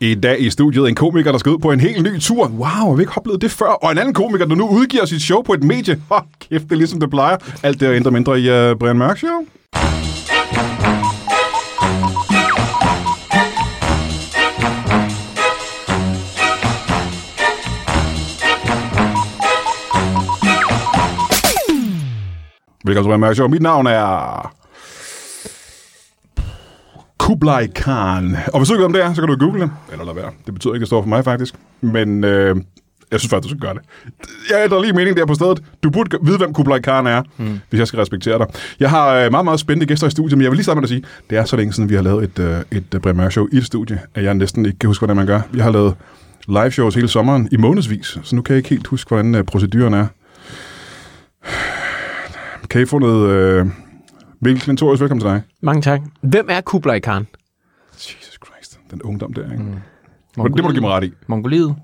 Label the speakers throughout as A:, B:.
A: I dag i studiet en komiker, der skal ud på en helt ny tur. Wow, har vi ikke oplevet det før? Og en anden komiker, der nu udgiver sit show på et medie. Hold kæft, det er ligesom det plejer. Alt det og indre mindre i uh, Brian Mørk Show. Velkommen til Brian Mørk Show. Mit navn er... Kublai Khan. Og hvis du ikke ved, om det er, så kan du google det. Eller lad være. Det betyder ikke, at det står for mig, faktisk. Men øh, jeg synes faktisk, du skal gøre det. Jeg ændrer lige mening der på stedet. Du burde g- vide, hvem Kublai Khan er, mm. hvis jeg skal respektere dig. Jeg har øh, meget, meget spændende gæster i studiet, men jeg vil lige starte med at sige, det er så længe siden, vi har lavet et, øh, et øh, Brian Mørk Show i et studie, at jeg næsten ikke kan huske, hvordan man gør. Jeg har lavet live shows hele sommeren i månedsvis, så nu kan jeg ikke helt huske, hvordan øh, proceduren er. Kan I få noget... Øh, Mikkel Klintorius, velkommen til dig.
B: Mange tak.
C: Hvem er Kublai Khan?
A: Jesus Christ, den ungdom der, ikke? Mm. Men det må du give mig ret i.
B: Mongoliet.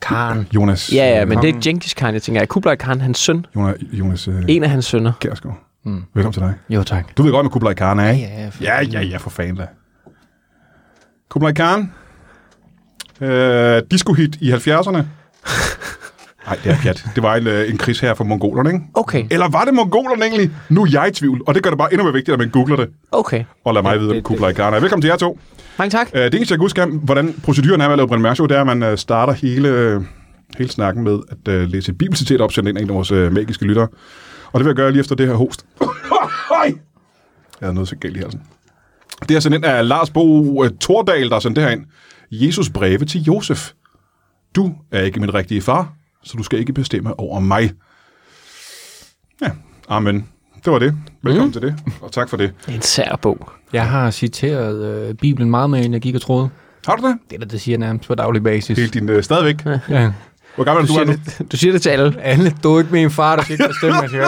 C: Khan.
A: Jonas,
C: Ja, ja, men det er Genghis Khan, jeg tænker. Er Kublai Khan hans søn?
A: Jonas, Jonas øh,
C: En af hans sønner.
A: Kjærsgaard. Mm. Velkommen til dig.
B: Jo, tak.
A: Du ved godt, med Kublai Khan er, ikke?
B: Ja,
A: Ja, ja, ja, for fanden da. Kublai Khan. Øh, disco-hit i 70'erne. Nej, det er pjat. Det var en, øh, en kris her for mongolerne, ikke?
C: Okay,
A: Eller var det mongolerne egentlig? Nu er jeg i tvivl, og det gør det bare endnu mere vigtigt, at man googler det.
C: okay.
A: Og lad mig vide, hvem Kublai Khan er. Velkommen til jer to.
C: Mange tak.
A: Øh, det eneste, jeg kan huske, er, hvordan proceduren er med at lave Brian Mørk Show, det er, at man øh, starter hele, øh, hele snakken med at øh, læse et bibelcitat op, sendt ind af en af vores øh, magiske lyttere. Og det vil jeg gøre lige efter det her host. Hej! jeg havde noget så galt i halsen. Det er sendt ind af Lars Bo øh, Tordal, der har sendt det her ind. Jesus breve til Josef. Du er ikke min rigtige far, så du skal ikke bestemme over mig. Ja, amen. Det var det. Velkommen mm. til det, og tak for det.
C: Det er en sær bog.
B: Jeg har citeret øh, Bibelen meget med energi og tråd.
A: Har du det?
B: Det er der, det siger jeg nærmest på daglig basis.
A: Helt din, øh, stadigvæk.
B: Ja.
A: Hvor gammel er du, du
C: Du siger,
A: er nu?
C: det, du siger det til alle.
B: Alle, du er ikke min far, der skal ikke bestemme, jeg skal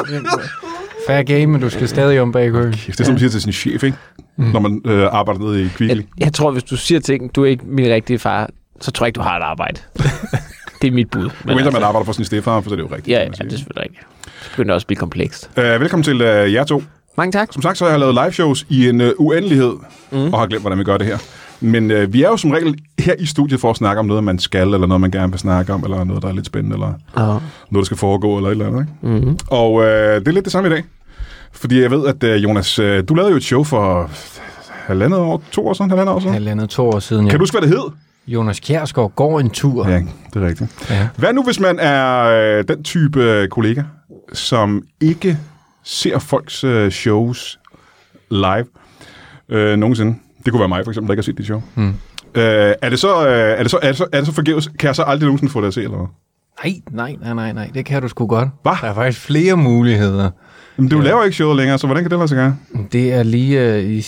B: Fair game, men du skal stadig om bag køen.
A: Kæft, det er som man siger til sin chef, ikke? Mm. Når man øh, arbejder nede i
C: Jeg,
A: Kvickly.
C: jeg tror, hvis du siger til en, du er ikke min rigtige far, så tror jeg ikke, du har et arbejde. det er mit bud.
A: Nu mindre man
C: altså,
A: arbejder for sin stedfar, for så er det jo rigtigt.
C: ja, ja,
A: kan man
C: det
A: sige.
C: er selvfølgelig rigtigt. Så begynder det også at blive komplekst.
A: Øh, velkommen til øh, jer to.
C: Mange tak.
A: Som sagt, så har jeg lavet live shows i en øh, uendelighed, mm. og har glemt, hvordan vi gør det her. Men øh, vi er jo som regel her i studiet for at snakke om noget, man skal, eller noget, man gerne vil snakke om, eller noget, der er lidt spændende, eller
C: Og
A: noget, der skal foregå, eller et eller andet. Ikke?
C: Mhm.
A: Mm-hmm. Og øh, det er lidt det samme i dag. Fordi jeg ved, at øh, Jonas, øh, du lavede jo et show for halvandet år, to år siden, halvandet år siden.
B: Halvandet to år siden, ja.
A: Kan du huske, hvad det hed?
B: Jonas Kjærsgaard går en tur.
A: Ja, det er rigtigt.
B: ja.
A: Hvad nu, hvis man er øh, den type øh, kollega, som ikke ser folks øh, shows live øh, nogensinde? Det kunne være mig, for eksempel, der ikke har set dit show. Mm. Øh, er, det så, øh, er, det så, er, det så, er det så forgæves? Kan jeg så aldrig nogensinde få det at se, eller hvad?
B: Nej, nej, nej, nej, nej, det kan du sgu godt.
A: Hva?
B: Der er faktisk flere muligheder.
A: Jamen, du ja. laver ikke showet længere, så hvordan kan det lade sig gøre?
B: Det er lige øh, i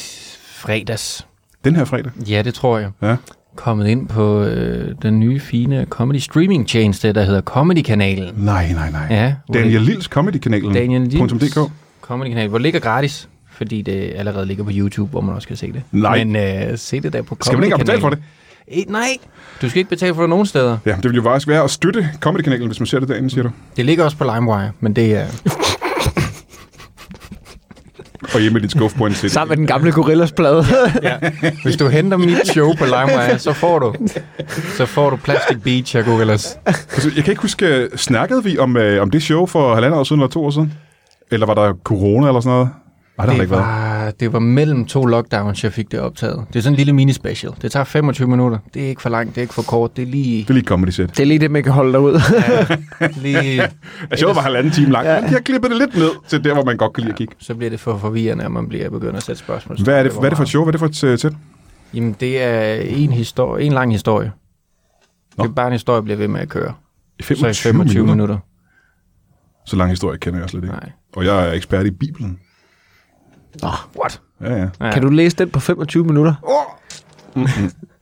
B: fredags.
A: Den her fredag?
B: Ja, det tror jeg.
A: Ja.
B: kommet ind på øh, den nye fine comedy streaming tjeneste, der hedder Comedy Kanalen.
A: Nej, nej, nej.
B: Ja, hvor
A: Daniel Lils Comedy-kanalen.
B: Daniel Lils
A: .dk.
B: Comedy Kanal, hvor det ligger gratis, fordi det allerede ligger på YouTube, hvor man også kan se det.
A: Nej.
B: Men øh, se det der på Comedy
A: Skal man ikke have betalt for det?
B: E, nej, du skal ikke betale for det nogen steder.
A: Ja, det ville jo faktisk være at støtte Comedy-kanalen, hvis man ser det derinde, siger du.
B: Det ligger også på LimeWire, men det er...
A: Og hjemme i din skuff på en CD.
C: sammen med den gamle gorillas plade.
B: Ja. Hvis du henter mit show på LimeWire, så får du, så får du Plastic Beach og Gorillas.
A: Altså, jeg kan ikke huske, øh, snakkede vi om, øh, om det show for halvandet år siden eller to år siden? Eller var der corona eller sådan noget? Nej, det har der
B: Det
A: ikke været.
B: var, det var mellem to lockdowns, jeg fik det optaget. Det er sådan en lille mini-special. Det tager 25 minutter. Det er ikke for langt, det er ikke for kort. Det er lige
A: Det er lige et comedy set.
C: det er lige det, man kan holde dig ud.
B: lige,
A: Altså, showet var halvanden time langt, men de har klippet det lidt ned til der, hvor man godt kan lide at kigge.
B: så bliver det for forvirrende, at man bliver begyndt at sætte spørgsmål.
A: Hvad er det, hvad er det for et show? Hvad er det for et øh, sæt?
B: Jamen, det er en, historie, en lang historie.
A: Nå.
B: Nå. Det er bare en historie, der bliver ved med at køre.
A: I
B: Så i 25 minutter. minutter.
A: Så lang historie kender jeg slet ikke.
B: Nej.
A: Og jeg er ekspert i Bibelen.
C: Nå, what?
A: Ja, ja.
B: Ja.
C: Kan du læse den på 25 minutter?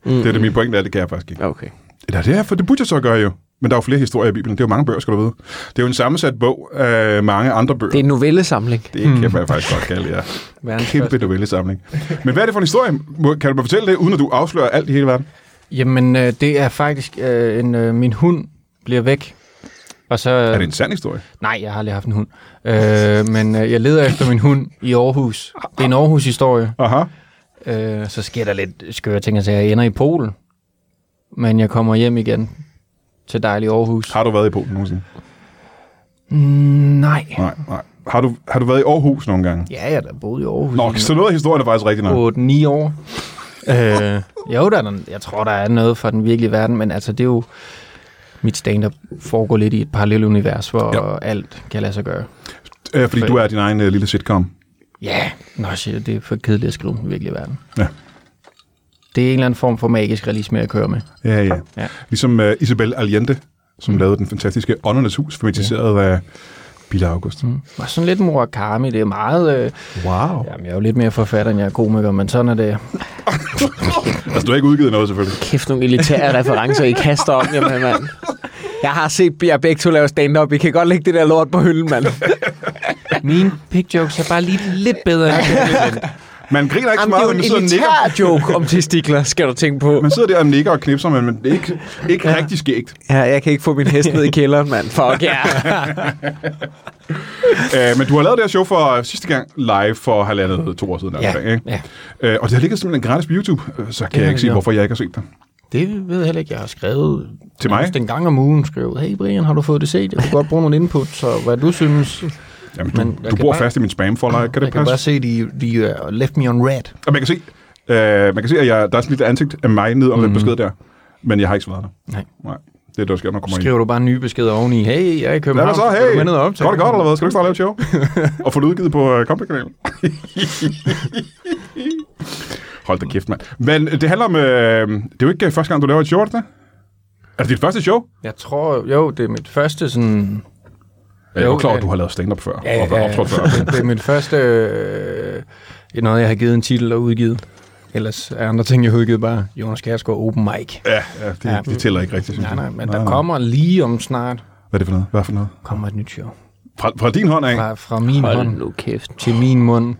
A: Det er det, min pointe er, det kan jeg faktisk ikke.
C: Okay.
A: Ja, det er for det burde jeg så gøre jo. Men der er jo flere historier i Bibelen. Det er jo mange bøger, skal du vide. Det er jo en sammensat bog af mange andre bøger.
C: Det er en novellesamling.
A: Det Hmm. kan man faktisk godt kalde, ja.
B: Verdens
A: Kæmpe novellesamling. Men hvad er det for en historie? Må- Kan du mig fortælle det, uden at du afslører alt i hele verden?
B: Jamen, øh, det er faktisk, øh, en, øh, min hund bliver væk. Og så,
A: Er det en sand historie?
B: Nej, jeg har aldrig haft en hund. Øh, men øh, jeg leder efter min hund i Aarhus. Det er en Aarhus-historie.
A: Aha.
B: Øh, så sker der lidt skøre ting, altså jeg ender i Polen. men jeg kommer hjem igen til dejlig Aarhus.
A: Har du været i Polen nogensinde?
B: Mm, nej.
A: Nej, nej. Har du, har du været i Aarhus nogle gange?
B: Ja, jeg har da boet i Aarhus.
A: Nå, så noget af historien er faktisk rigtig nok.
B: 8-9 år. øh, jo, der er, den- jeg tror, der er noget fra den virkelige verden, men altså, det er jo... Mit stand-up foregår lidt i et parallelt univers, hvor
A: Ja.
B: ja. alt kan lade sig gøre.
A: Øh, fordi du er din egen øh, lille sitcom.
B: Ja, nå shit, det er for kedeligt at skrive om den virkelige verden.
A: Ja.
B: Det er en eller anden form for magisk realisme at køre med.
A: Ja, ja. ja.
B: Ja.
A: Ligesom uh, Isabel Allende, som mm. lavede den fantastiske Åndernes Hus, filmatiseret af Bille August. Mm.
B: Og sådan lidt Murakami, det er meget... Øh,
A: Wow. Ja.
B: jamen, jeg er jo lidt mere forfatter, end jeg er komiker, men sådan er det.
A: Altså, du har ikke udgivet noget, selvfølgelig.
C: Kæft, nogle elitære referencer, I kaster om jer med, mand. Jeg har set jer begge to lave stand-up. I kan godt lægge det der lort på hylden, mand.
B: Mine pig jokes er bare lige lidt bedre end
A: Man griner ikke så
C: Jamen, det er
A: meget,
C: jo
A: men
C: en
A: man sidder, og nikker,
C: elitær joke om testikler, skal du tænke på.
A: man sidder der og nikker og knipser, men, men det er ikke, ikke ja. rigtig skægt.
C: Ja, jeg kan ikke få min hest ned i kælderen, mand. Fuck ja.
A: Uh, men du har lavet det her show for uh, sidste gang live for halvandet to år siden.
B: Ja,
A: omkring, ikke?
B: ja.
A: Uh, og det har ligget simpelthen gratis på YouTube, øh, så kan jeg
B: har
A: ikke
B: det
A: se,
B: gjort.
A: hvorfor jeg ikke har set det.
B: Det ved jeg heller ikke. Jeg har skrevet
A: Til mig?
B: nærmest en gang om ugen skrevet, hey Brian, har du fået det set? Jeg kunne godt bruge nogle input, så hvad du synes.
A: Jamen, du,
B: Men
A: men
B: jeg
A: du
B: kan
A: bor
B: bare- Ah,
A: fast i min spam-folder, kan det
B: jeg kan
A: passe?
B: bare se, de, de uh, left me on red.
A: Og man kan se, øh, man kan se at jeg, der er sådan et lille ansigt af mig ned om mm. den besked der, men jeg har ikke svaret dig.
B: Mhm. Nej.
A: Nej. Det er det, der sker, når man kommer ind.
B: Skriver du bare nye beskeder oveni, hey, jeg er i
A: Hvad er
B: København,
A: der så?
B: skal du
A: Hey,
B: med ned og
A: godt
B: optage?
A: det godt, eller hvad? Skal du ikke snart lave et show? og få det udgivet på uh, Comedy-kanalen? Hold da kæft, mand. Men det handler om... Øh, det er jo ikke øh, første gang, du laver et show, er det det? Er det dit første show?
B: Jeg tror, jo, det er mit første sådan...
A: Jeg er
B: Jo,
A: jo klar, at
B: ja.
A: du har lavet stand-up før.
B: Ja,
A: og været
B: ja,
A: optrådt før.
B: Det, det er mit første... Øh, noget, jeg har givet en titel og udgivet. Ellers er andre ting, jeg har udgivet bare Jonas Kjærsgaard Open Mic.
A: Ja, ja, det, ja, Ah.
B: Ja.
A: det tæller ikke rigtigt, synes
B: Nej,
A: jeg.
B: nej, men der kommer lige om snart
A: Hvad er det for noget? Hvad for noget?
B: kommer et nyt show.
A: Fra, fra din hånd af?
B: Fra, fra min hånd
C: nu kæft.
B: til min mund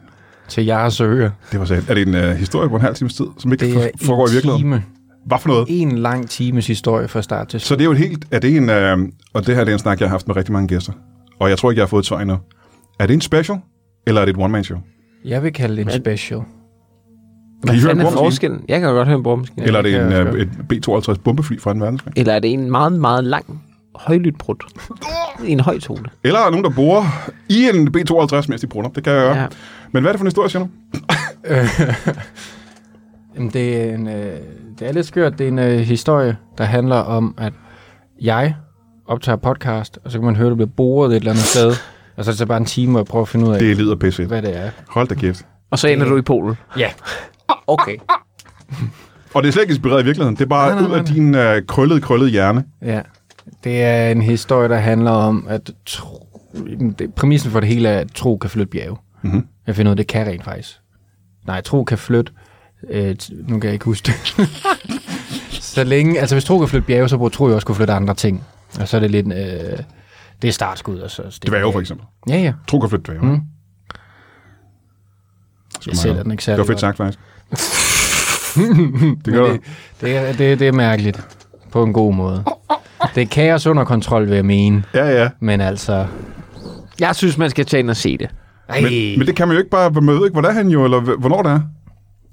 B: til jeres ører.
A: Det var sagt. Er det en øh, historie på en halv times tid, som ikke
B: Det er
A: for- foregår i virkeligheden?
B: Time,
A: Hvad for noget?
B: en lang times historie fra start til
A: Så
B: slut.
A: det er jo et helt... Er det en... Øh, og det her det er en snak, jeg har haft med rigtig mange gæster. Og jeg tror ikke, jeg har fået et svar endnu. Er det en special, eller er det et one-man-show?
B: Jeg vil kalde det en special.
A: Kan I høre en
C: Hvad er
A: brummaskine?
C: forskellen? Jeg kan godt høre en brummaskine.
A: Eller er det
B: Ja,
A: en,
B: det
A: øh, et B-52 bombefly fra en verdenskrig?
C: Eller er det en meget, meget lang højlydt brud? I en høj tone.
A: Eller er der nogen, der bor i en B-52, mens de brunder? Det kan jeg gøre. Ja.
C: Ja.
A: Men hvad er det for en historie, siger du?
B: Jamen, det, er en, øh, det er lidt skørt. Det er en øh, historie, der handler om, at jeg optager podcast, og så kan man høre, at det bliver boret et eller andet sted. Og så er det så bare en time, og jeg prøver at finde ud af, det.
A: Det lyder pisse.
B: hvad det er.
A: Hold da kæft.
C: Og så ender du i Polen.
B: Ja.
C: Okay.
A: Og det er slet ikke inspireret i virkeligheden. Det er bare
B: Nej, nej,
A: ud af din øh, krøllede, krøllede hjerne.
B: ja. Det er en historie, der handler om, at tro, Jamen, det, præmissen for det hele er, at tro kan flytte bjerge.
A: Mhm.
B: Jeg finder ud af, det kan rent faktisk. Nej, tro kan flytte... Øh, t- nu kan jeg ikke huske det. så længe... Altså, hvis tro kan flytte bjerge, så burde tro jo også kunne flytte andre ting. Og så er det lidt... Øh, det er startskud, og så... Det
A: Dværge for eksempel.
B: Ja, ja.
A: Tro kan flytte dværge.
B: Mm.
A: Sgu
B: Jeg
A: meget
B: sælger
A: godt.
B: den ikke
A: Det
B: særlig
A: var fedt sagt,
B: godt.
A: faktisk. det gør det.
B: det, det, er, det, det er mærkeligt. På en god måde. Det er kaos under kontrol, vil jeg mene.
A: Ja, ja.
B: Men altså...
C: Jeg synes, man skal tage ind og se det.
B: Ej.
A: Men, men det kan man jo ikke bare, man ved ikke, hvordan han jo, eller hv- hvornår det er.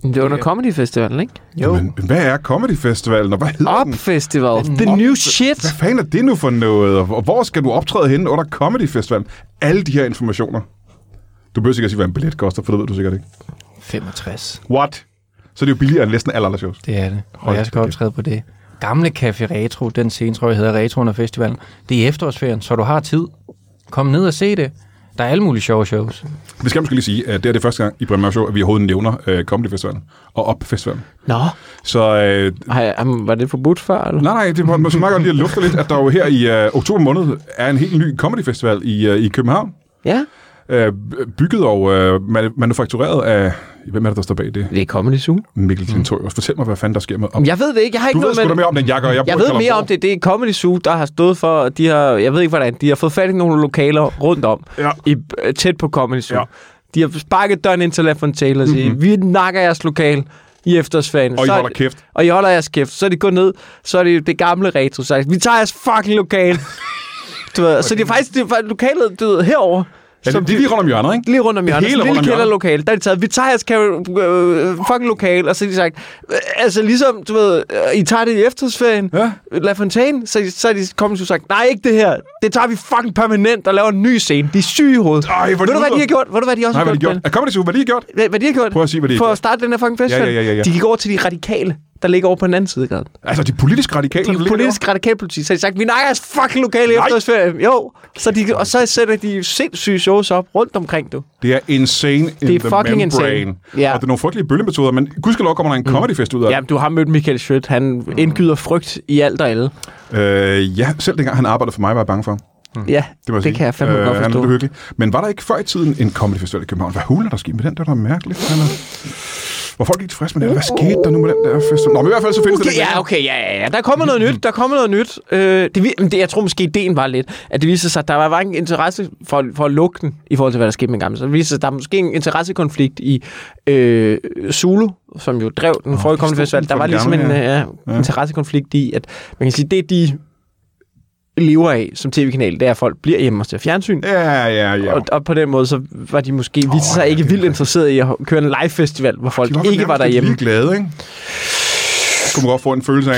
C: Det er under Comedy Festivalen, ikke?
B: jo.
A: Men hvad er Comedy Festivalen, og hvad hedder
C: Op
A: den?
C: Festival. The Altså, new shit.
A: Hvad fanden er det nu for noget, og hvor skal du optræde henne under Comedy Festivalen? Alle de her informationer. Du behøver sikkert sige, hvad en billet koster, for det ved du sikkert ikke.
B: 65.
A: What? Så er det jo billigere end næsten alle andre shows.
B: Det er det.
A: Hold
B: Og jeg skal
A: da kæft.
B: optræde på det. Gamle Café Retro, den scene, tror jeg, hedder Retro under festivalen. Det er i efterårsferien, så du har tid. Kom ned og se det. Der er alle mulige sjove shows.
A: Vi skal måske lige sige, at det er det første gang i Bremer Show, at vi overhovedet nævner øh, Comedy Festivalen og Op Festivalen.
C: Nå.
A: Så øh,
C: Ej, jamen, var det forbudt før, eller?
A: nej, nej, det var måske meget godt lige at lufte lidt, at der jo her i øh, oktober måned er en helt ny Comedy Festival i, øh, i København.
C: Ja.
A: øh, bygget og øh, man- manufaktureret af... Hvem er det, der står bag det?
C: Det er Comedy Zoo.
A: Mikkel Klintorius. Fortæl mig, hvad fanden der sker med... Op.
C: Mm. Jeg ved det ikke. Jeg har
A: Du
C: ikke
A: ved
C: noget
A: sgu da
C: med
A: mere om den, jeg gør. Jeg, bor
C: Jeg
A: i
C: ved mere
A: Kalundborg.
C: om det. Det er Comedy Zoo, der har stået for, og de har, jeg ved ikke hvordan, de har fået fat i nogle lokaler rundt om,
A: Ja.
C: i, øh, tæt på Comedy Zoo.
A: Ja. Mhm.
C: Ja. De har sparket døren ind til Lafontaine og siger, mm-hmm. vi nakker jeres lokal i efterårsferien.
A: Og I
C: Så er
A: holder
C: det-
A: kæft.
C: Og I holder jeres kæft. Så er de gået ned, så er det det gamle retro. Så er de, vi tager jeres fucking lokal. du ved, så det er faktisk det er faktisk lokalet du ved, herover.
A: Ja, det, det er lige rundt om hjørnet, ikke?
C: Lige rundt om
A: Det er
C: hjørnet,
A: hele
C: sådan en
A: rundt
C: lille
A: om hjørnet.
C: kælderlokale, der er de taget, vi tager jeres kæ- øh, fucking lokale, og så har de sagt, øh, altså ligesom, du ved, øh, I tager det i efterårsferien,
A: Ja.
C: La Fontaine, så, så er de kommet og sagt, nej, ikke det her, det tager vi fucking permanent og laver en ny scene, de er syge i hovedet.
A: Ej, hvor er
C: Ved
A: det
C: du, hvad de har
A: ude-
C: gjort? Ved du, hvad de også
A: Nej,
C: har
A: hvad har de gjort?
C: Brian?
A: Ja, Kom med det, Sue, hvad har de gjort?
C: Hvad, hvad de har gjort?
A: Prøv at sige, hvad de har
C: For
A: gjort.
C: at starte den her fucking festival.
A: Ja, ja, ja, ja.
C: De gik over til de radikale, der ligger over på den anden side af gaden.
A: Altså, de politisk radikale, der
C: De
A: ligger
C: politisk radikale politi, så har de sagt, vi nejer jeres fucking lokale i
A: Nej.
C: efterårsferien. Jo, så de, og så sætter de sindssyge shows op rundt omkring, du.
A: derovre. Det er insane in
C: Det er
A: the
C: fucking
A: membrane.
C: insane. Ja. Mm.
A: Og det er nogle frygtelige bøllemetoder, men gudskelov kommer der en comedyfest ud af det.
C: Jamen, du har mødt Michael Schødt. Han indgyder frygt i alt og alle.
A: Øh, ja, selv dengang han arbejdede for mig, var jeg bange for ham.
C: Ja,
A: Det, må jeg sige.
C: det, det kan jeg fandme øh, godt
A: han er
C: forstå.
A: lidt hyggelig. Men var der ikke før i tiden en comedy festival i København? Hvad hulen er der sket med den? Det var da mærkeligt. Eller... Var folk ikke tilfredse med det? Hvad skete der nu med den der festival? Nå, men i hvert fald så findes
C: Okay,
A: det.
C: ja, okay, ja, ja, ja. Der kommer noget nyt, der kommer noget nyt. Øh, det, vi- men det, jeg tror måske, ideen var lidt, at det viser sig, at der var hverken interesse for, for at lukke den, i forhold til, hvad der skete med gamle. Så det viser sig, at der er måske en interessekonflikt i øh, Zulu, som jo drev den forrige kommende festival.
A: den
C: Der
A: for
C: var
A: den
C: ligesom en
A: gamle,
C: øh, ja, interessekonflikt i, at man kan sige, det de lever af som tv-kanal, det er, at folk bliver hjemme og ser fjernsyn.
A: Ja, ja, ja.
C: Og, og på den måde, så var de måske oh, viste
A: ja,
C: sig ikke
A: det er
C: vildt
A: rigtigt.
C: interesseret i at køre en live festival, hvor folk
A: vel
C: ikke var
A: nærmest lidt
C: derhjemme.
A: ligeglade, ikke? Det kunne man godt få en følelse af.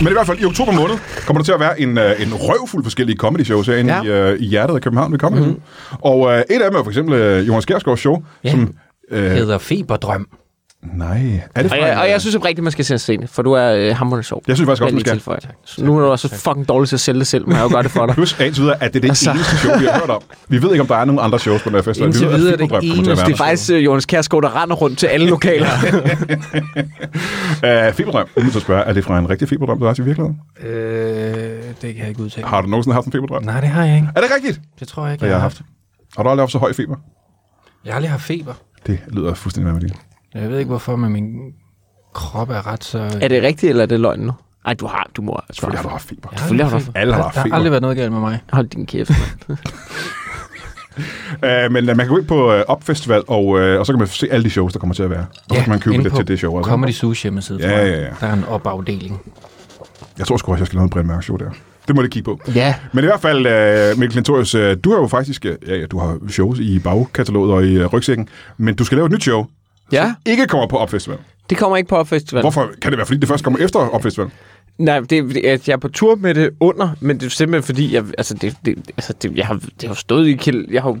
A: Men i hvert fald i oktober måned kommer der til at være en, øh, en røvfuld forskellige comedy shows herinde
C: Ja. Mhm.
A: ja. i, øh, i hjertet af København ved Comedy. Mm-hmm. Og øh, et af dem er for eksempel øh, Jonas Gersgaards show,
B: Ja.
A: ja. som... Øh,
B: hedder Feberdrøm.
A: nej, er det
C: Og
A: fra
C: jeg,
A: en,
C: og
A: øh,
C: jeg synes oprigtigt, man skal se at se det, for du er øh, hammerende sjov.
A: Jeg synes faktisk også, man skal.
C: skal. Nu er du også fucking dårlig til at sælge det selv, men jeg jo gøre det for dig.
A: Plus indtil videre, at det er det
C: Altså.
A: altså... eneste show, vi har hørt om. Vi ved ikke, om der er nogen andre shows på den her festival.
B: Indtil
A: vi ved, at
B: videre er det
A: Fiberdrøm kommer til at være
C: Det
B: eneste,
C: er faktisk øh, Jonas Kjærsgaard, der render rundt til alle lokaler.
A: der. Øh, Fiberdrøm, uden at spørge, er det fra en rigtig fiberdrøm, der er til virkeligheden?
B: Øh, det kan jeg ikke udtale.
A: Har du nogensinde haft en fiberdrøm?
B: Nej, det har jeg ikke.
A: Er det rigtigt?
B: Det tror jeg ikke,
A: Hvad jeg har haft. Har du aldrig haft så høj feber?
B: Jeg har aldrig haft feber.
A: Det lyder fuldstændig vanvittigt.
B: Jeg ved ikke, hvorfor, men min krop er ret så...
C: er det rigtigt, eller er det løgn nu? Ej, du har, du må. Du
A: Selvfølgelig har
C: har.
A: du haft feber.
C: Selvfølgelig har du haft-
A: Alle har
B: Der,
A: haft
B: der har
A: feber.
B: aldrig været noget galt med mig.
C: Hold din kæft. mand.
A: Øh, men øh, man kan gå ind på øh, Opfestival, og, øh, og så kan man se alle de shows, der kommer til at være. Og så kan man købe
B: inde
A: lidt
B: på
A: til det show også.
B: Comedy Sushi hjemmeside,
A: Ja,
B: tror jeg.
A: ja, ja.
B: Der er en opafdeling.
A: Jeg tror sgu også, jeg skal lave en Brian Mørk show der. Det må jeg lige kigge på.
C: ja.
A: Men i hvert fald, øh, Mikkel Klintorius, øh, du har jo faktisk øh, ja, ja, du har shows i bagkataloget og i øh, rygsækken, men du skal lave et nyt show,
C: Ja,
A: ikke kommer på Opfestival.
C: det kommer ikke på festival.
A: Hvorfor kan det være, fordi det først kommer efter Opfestival?
C: Nej, det, er- jeg jeg er på tur med det under, men det er simpelthen fordi, jeg, altså, det, det, altså det, jeg, har, det har jo stået i kæld, jeg har jo,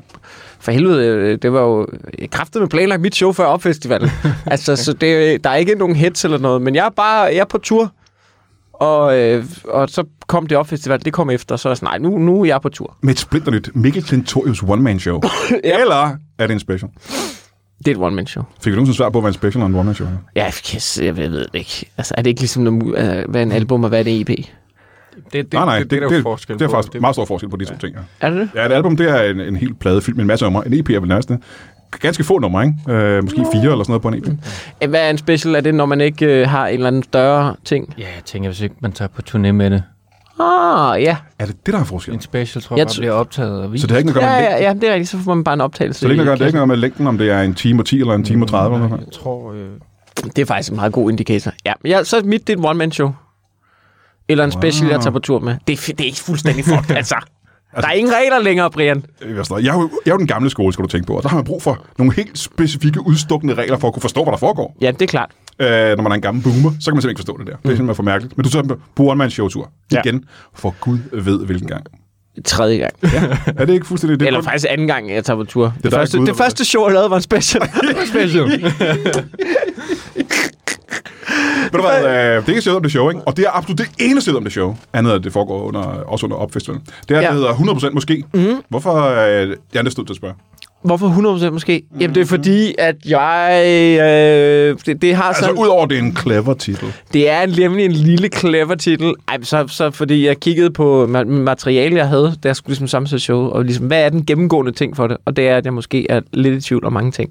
C: for helvede, øh, det var jo jeg kræftede med planlagt mit show før opfestivalen. altså, så det, der er ikke nogen hits eller noget, men jeg er bare jeg er på tur, og, øh, og så kom det opfestival, det kom efter, så er jeg sådan, nej, nu, nu er jeg på tur.
A: Med et splinternyt Mikkel Klintorius one-man-show.
C: Ja.
A: Eller er det en special?
C: Det er et one-man-show.
A: Fik du nogensinde svar på, hvad en special og en one-man-show er?
C: Ja, yes, jeg ved jeg ved det ikke. Altså, er det ikke ligesom, noget, mu- øh, hvad er en album og hvad er det EP?
B: Det,
A: nej, nej, det, det, det, det, det er faktisk meget stor forskel på de to ting. Ja.
C: Er det det?
A: Ja, et album, det er en, en helt plade fyldt med en masse numre. En EP er vel nærmest det. Ganske få numre, ikke? Øh, måske fire eller sådan noget på en EP.
C: Øh, Hvad er en special? Er det, når man ikke øh, har en eller anden større ting?
B: Ja, jeg tænker, hvis ikke man tager på turné med det.
C: Ah, ja.
A: Er det det, der er forskellen?
B: En special, tror
C: Jeg
B: jeg,
C: tr-
B: bare bliver optaget og vist.
A: Så det har ikke noget at gøre
C: Ja,
A: med
C: ja,
A: længden?
C: ja, det er rigtigt. Så får man bare en optagelse.
A: Så det, er ikke noget, at gøre- det er
C: i
A: ikke noget med længden, om det er en time og 10 eller en time og 30 eller noget.
B: Jeg tror... Øh...
C: kassen. det er faktisk en meget god indikator. Ja, men jeg, så mit, det er et one-man-show. Eller en special, jeg tager på tur med. Det, er fi- det er ikke fuldstændig fucked, altså. Der er ingen regler længere, Brian.
A: Jeg er jo- jeg er jo den gamle skole, skal du tænke på, og der har man brug for nogle helt specifikke, udstukne regler for at kunne forstå, hvad der foregår.
C: Ja, det er klart.
A: øh, når man er en gammel boomer, så kan man simpelthen ikke forstå det der. Det er simpelthen for mærkeligt. Men du tager på one show-tur
C: Mm. Ja.
A: igen, for Gud ved hvilken gang.
C: Tredje gang.
A: Er det ikke fuldstændig det?
C: Eller faktisk anden gang, jeg tager på tur. Det, det,
A: der er
C: første,
A: Gud,
C: det
A: der ved
C: første show, jeg lavede, var en special.
B: Special.
A: Ved du hvad, øh, det er ikke stedet om det show, ikke? Og det er absolut det ene sted om det show, andet at det foregår under, også under opfestivalen. Det er,
C: Ja.
A: ja. det
C: Mhm.
A: hedder 100% måske. Mm. Hvorfor øh, jeg er næsten nødt til at spørge?
C: Hvorfor 100% måske? Jamen, det er fordi, at jeg... Øh, det, det, har
A: Altså,
C: sådan,
A: udover det er en clever titel.
C: det er en, nemlig en lille clever titel. Ej, men så, så fordi jeg kiggede på ma- materiale, jeg havde, da jeg skulle ligesom sammensætte show, og ligesom, hvad er den gennemgående ting for det? Og det er, at jeg måske er lidt i tvivl om mange ting.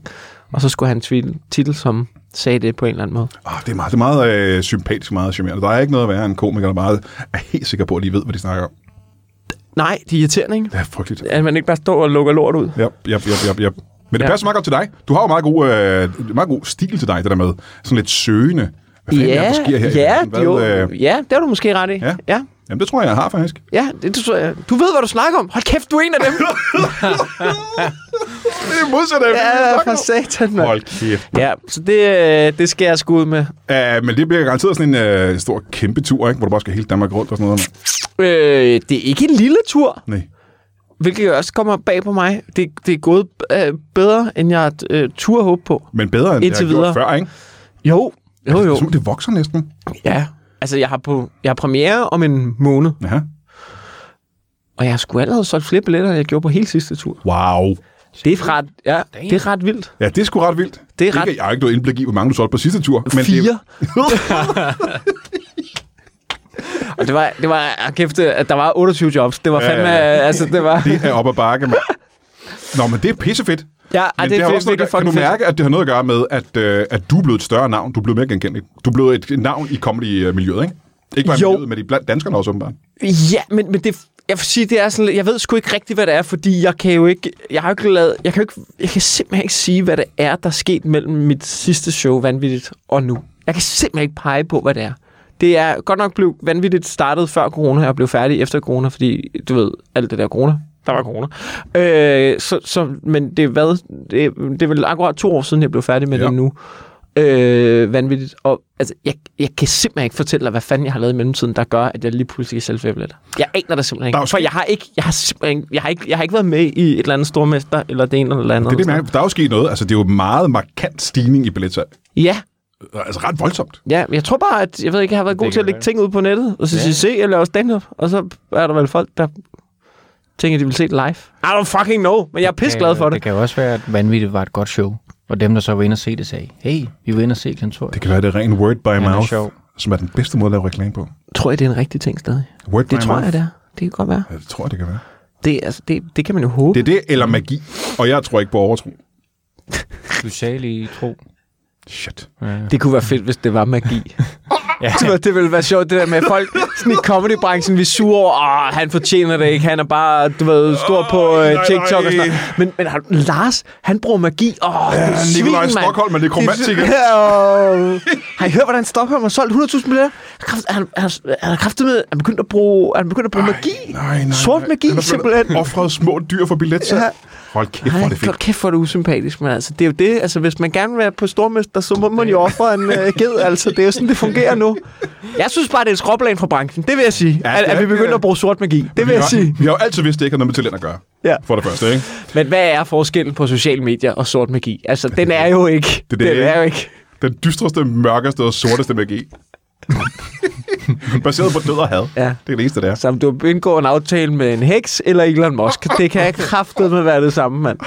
C: Og så skulle han tweet en titel, som sagde det på en eller anden måde.
A: Oh, det er meget, det er meget øh, sympatisk, meget charmerende. Der er ikke noget at være en komiker, der bare er helt sikker på, at de ved, hvad de snakker om.
C: Nej, det er irriterende, ikke?
A: Det er frygteligt.
C: At man ikke bare står og lukker lort ud.
A: Ja, ja, ja, ja, ja. Men det
C: Ja.
A: passer meget godt til dig. Du har jo meget god, øh, meget god stil til dig, det der med sådan lidt søgende. Hvad fanden er
C: Ja,
A: der sker her? i
C: ja,
A: verden? Hvad,
C: jo,
A: øh,
C: ja, det har du måske ret i.
A: Ja.
C: ja.
A: Jamen, det tror jeg, jeg har faktisk.
C: Ja, det, det tror jeg. Du ved, hvad du snakker om. Hold kæft, du er en af dem.
A: Det er modsat af, hvad jeg
C: ja,
A: snakker
C: for
A: om.
C: satan, mand.
A: Hold kæft.
C: Ja, så det, øh, det skal jeg sgu ud med.
A: Uh, men det bliver garanteret sådan en uh, stor kæmpe tur, ikke? hvor du bare skal hele Danmark rundt og sådan noget.
C: Øh, det er ikke en lille tur,
A: Nej.
C: hvilket jo også kommer bag på mig. Det, det er gået øh, bedre, end jeg øh, turde håbe på.
A: Men bedre, end
C: Indtil
A: jeg gjorde
C: videre.
A: før, ikke?
C: Jo, jo,
A: Det,
C: jo.
A: er som, det vokser næsten.
C: Ja, altså jeg har, på, jeg har premiere om en måned,
A: Ja.
C: og jeg har sgu allerede solgt flere billetter, end jeg gjorde på hele sidste tur.
A: Wow.
C: Det er ret, ja, det er ret vildt.
A: Ja, det er sgu ret vildt.
C: Det er
A: Ikke,
C: ret-
A: Jeg har ikke noget indblik i, hvor mange du solgte på sidste tur. Men Det,
C: Fire. og det var, det var, ah, kæft, at der var 28 jobs. Det var
A: Ja, ja,
C: fandme,
A: ja.
C: øh, altså det var,
A: det er op ad bakke, mand. Nå, men det er pissefedt.
C: ja, ej,
A: Men
C: det,
A: har
C: er
A: også noget, at
C: fedt, virkelig
A: gøre- kan
C: fucking
A: du
C: fedt.
A: mærke, at det har noget at gøre med, at, øh, at du er blevet et større navn? Du er blevet mere genkendt. Du er blevet et, et navn i comedy-miljøet, ikke? Ikke bare i
C: Jo.
A: miljøet, men i blandt danskerne også, åbenbart.
C: Ja, men, men det, jeg vil sige, det er sådan, lidt- jeg ved sgu ikke rigtigt, hvad det er, fordi jeg kan jo ikke, jeg har jo ikke lavet, jeg kan jo ikke, jeg kan simpelthen ikke sige, hvad det er, der er sket mellem mit sidste show, Vanvittigt, og nu. Jeg kan simpelthen ikke pege på, hvad det er. Det er godt nok blev vanvittigt startet før corona, og blev færdig efter corona, fordi du ved, alt det der corona, der var corona. Øh, så, så, men det er, hvad, det, er- det er vel akkurat to år siden, jeg blev færdig med
A: Ja.
C: ja. det nu. Øh, vanvittigt. Og altså, jeg, jeg kan simpelthen ikke fortælle dig, hvad fanden jeg har lavet i mellemtiden, der gør, at jeg lige pludselig kan sælge billetter. Jeg aner det simpelthen
A: Der er jo
C: ikke. For
A: sket-
C: jeg har ikke, jeg har simpelthen ikke, jeg har ikke, jeg har ikke været med i et eller andet stormester, eller det ene eller det andet.
A: Det er det, mærke. Der er jo sket noget. Altså, det er jo meget markant stigning i billetsalg.
C: Ja,
A: Altså, ret voldsomt.
C: ja, jeg tror bare, at jeg ved ikke, jeg har været god
B: kan
C: til at lægge
B: være.
C: ting ud på nettet, og så
B: Ja.
C: sige, se, jeg laver stand-up, og så er der vel folk, der tænker, de vil se det live. I don't fucking know, men jeg er pisseglad for
B: Det
C: det.
B: kan jo også være, at vanvittigt var et godt show. Og dem, der så var inde og se det, sagde, hey, vi var inde og se Klantor.
A: Det kan være, det er ren word by
B: er
A: mouth,
B: sjov.
A: som er den bedste måde at lave reklame på.
C: Tror jeg, det er en rigtig ting stadig?
A: Word by
C: Det tror
A: mouth.
C: jeg, det er. Det kan godt være.
A: Ja, det tror jeg, det kan være.
C: Det, altså, det, det kan man jo håbe.
A: Det er det, eller magi. Og jeg tror ikke på overtro.
B: Du sagde lige tro.
A: Shit.
C: Det kunne være fedt, hvis det var magi. ja. Det ville være sjovt, det der med folk sådan i comedybranchen, vi er sure over, "Åh, han fortjener det ikke, han er bare, du ved, stor på
A: Åh,
C: øh,
A: nej,
C: TikTok og sådan
A: nej.
C: noget. Men, men har, Lars, han bruger magi. Åh, oh, ja, svin,
A: Nikolaj
C: mand.
A: Stockholm er nekromantiker.
C: Det- Åh. Har I hørt, hvordan Stockholm har solgt 100.000 billetter? Han, han, han, han har kraftet med, han begyndte at bruge, han begyndte at bruge magi.
A: Nej, nej,
C: Sort
A: nej.
C: magi,
A: Han har
C: simpelthen.
A: Offret små dyr for billetsalg.
C: Ja.
A: Hold kæft, hvor
C: Nej,
A: er det fedt.
C: godt kæft, hvor er det usympatisk, men altså, det er jo det, altså, hvis man gerne vil være på stormester, så må man jo ofre en øh, ged, altså, det er jo sådan, det fungerer nu. Jeg synes bare, det er et skråplan fra branchen, det vil jeg sige,
A: Ja,
C: ja, at,
A: det er
C: at vi
A: ikke,
C: begynder
A: øh,
C: at bruge sort magi, det
A: Vi
C: vil jeg
A: har-
C: sige.
A: Vi har jo altid vidst, det ikke har noget med talent at gøre.
C: Ja.
A: For det første, ikke?
C: Men hvad er forskellen på sociale medier og sort magi? Altså, den er jo ikke,
A: det,
C: det, den
A: ikke?
C: er jo ikke.
A: Den dystreste, mørkeste og sorteste magi. Baseret på død og had.
C: Ja.
A: Det er det eneste, det er.
C: Så Altså, om du indgår en aftale med en heks eller Elon Musk, det kan kraftedeme være det samme, mand.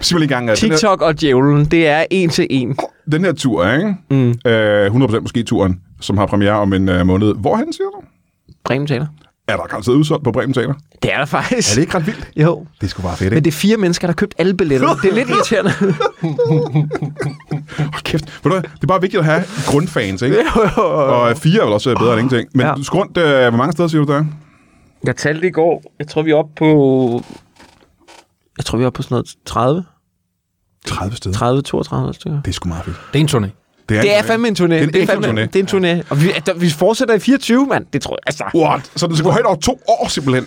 A: Sig mig lige engang, at den her,
C: TikTok og djævlen, det er en til en.
A: altså. den her tur, ikke? Mm. Øh, 100% måske turen, som har premiere om en øh, måned. Hvorhen, siger du?
C: Bremen taler.
A: Er der garanteret udsolgt på Bremen Teater?
C: Det er der faktisk.
A: Er det ikke ret vildt?
C: Jo.
A: Det er sgu bare fedt, ikke?
C: Men det er fire mennesker, der har købt alle billetterne. Det er lidt irriterende.
A: Hold kæft. Ved du hvad? Det er bare vigtigt at have grundfans, ikke?
C: Jo, jo, jo.
A: Og øh, fire er vel også øh, bedre end ingenting. Men
C: Ja.
A: ja. rundt, øh, hvor mange steder siger du der? er?
C: Jeg talte i går. Jeg tror, vi er oppe på... Jeg tror, vi er oppe på sådan noget 30.
A: 30 steder.
C: 30, 32 stykker.
A: Det er sgu meget fedt.
B: Det er en turné.
C: Det er
A: en-
C: fandme en turné.
A: en ægte
C: fandme,
A: turné.
C: Det er en turné. Og vi, der, vi fortsætter i 24, mand. Det tror jeg. Altså,
A: What? Så den skal gå højt over to år, simpelthen.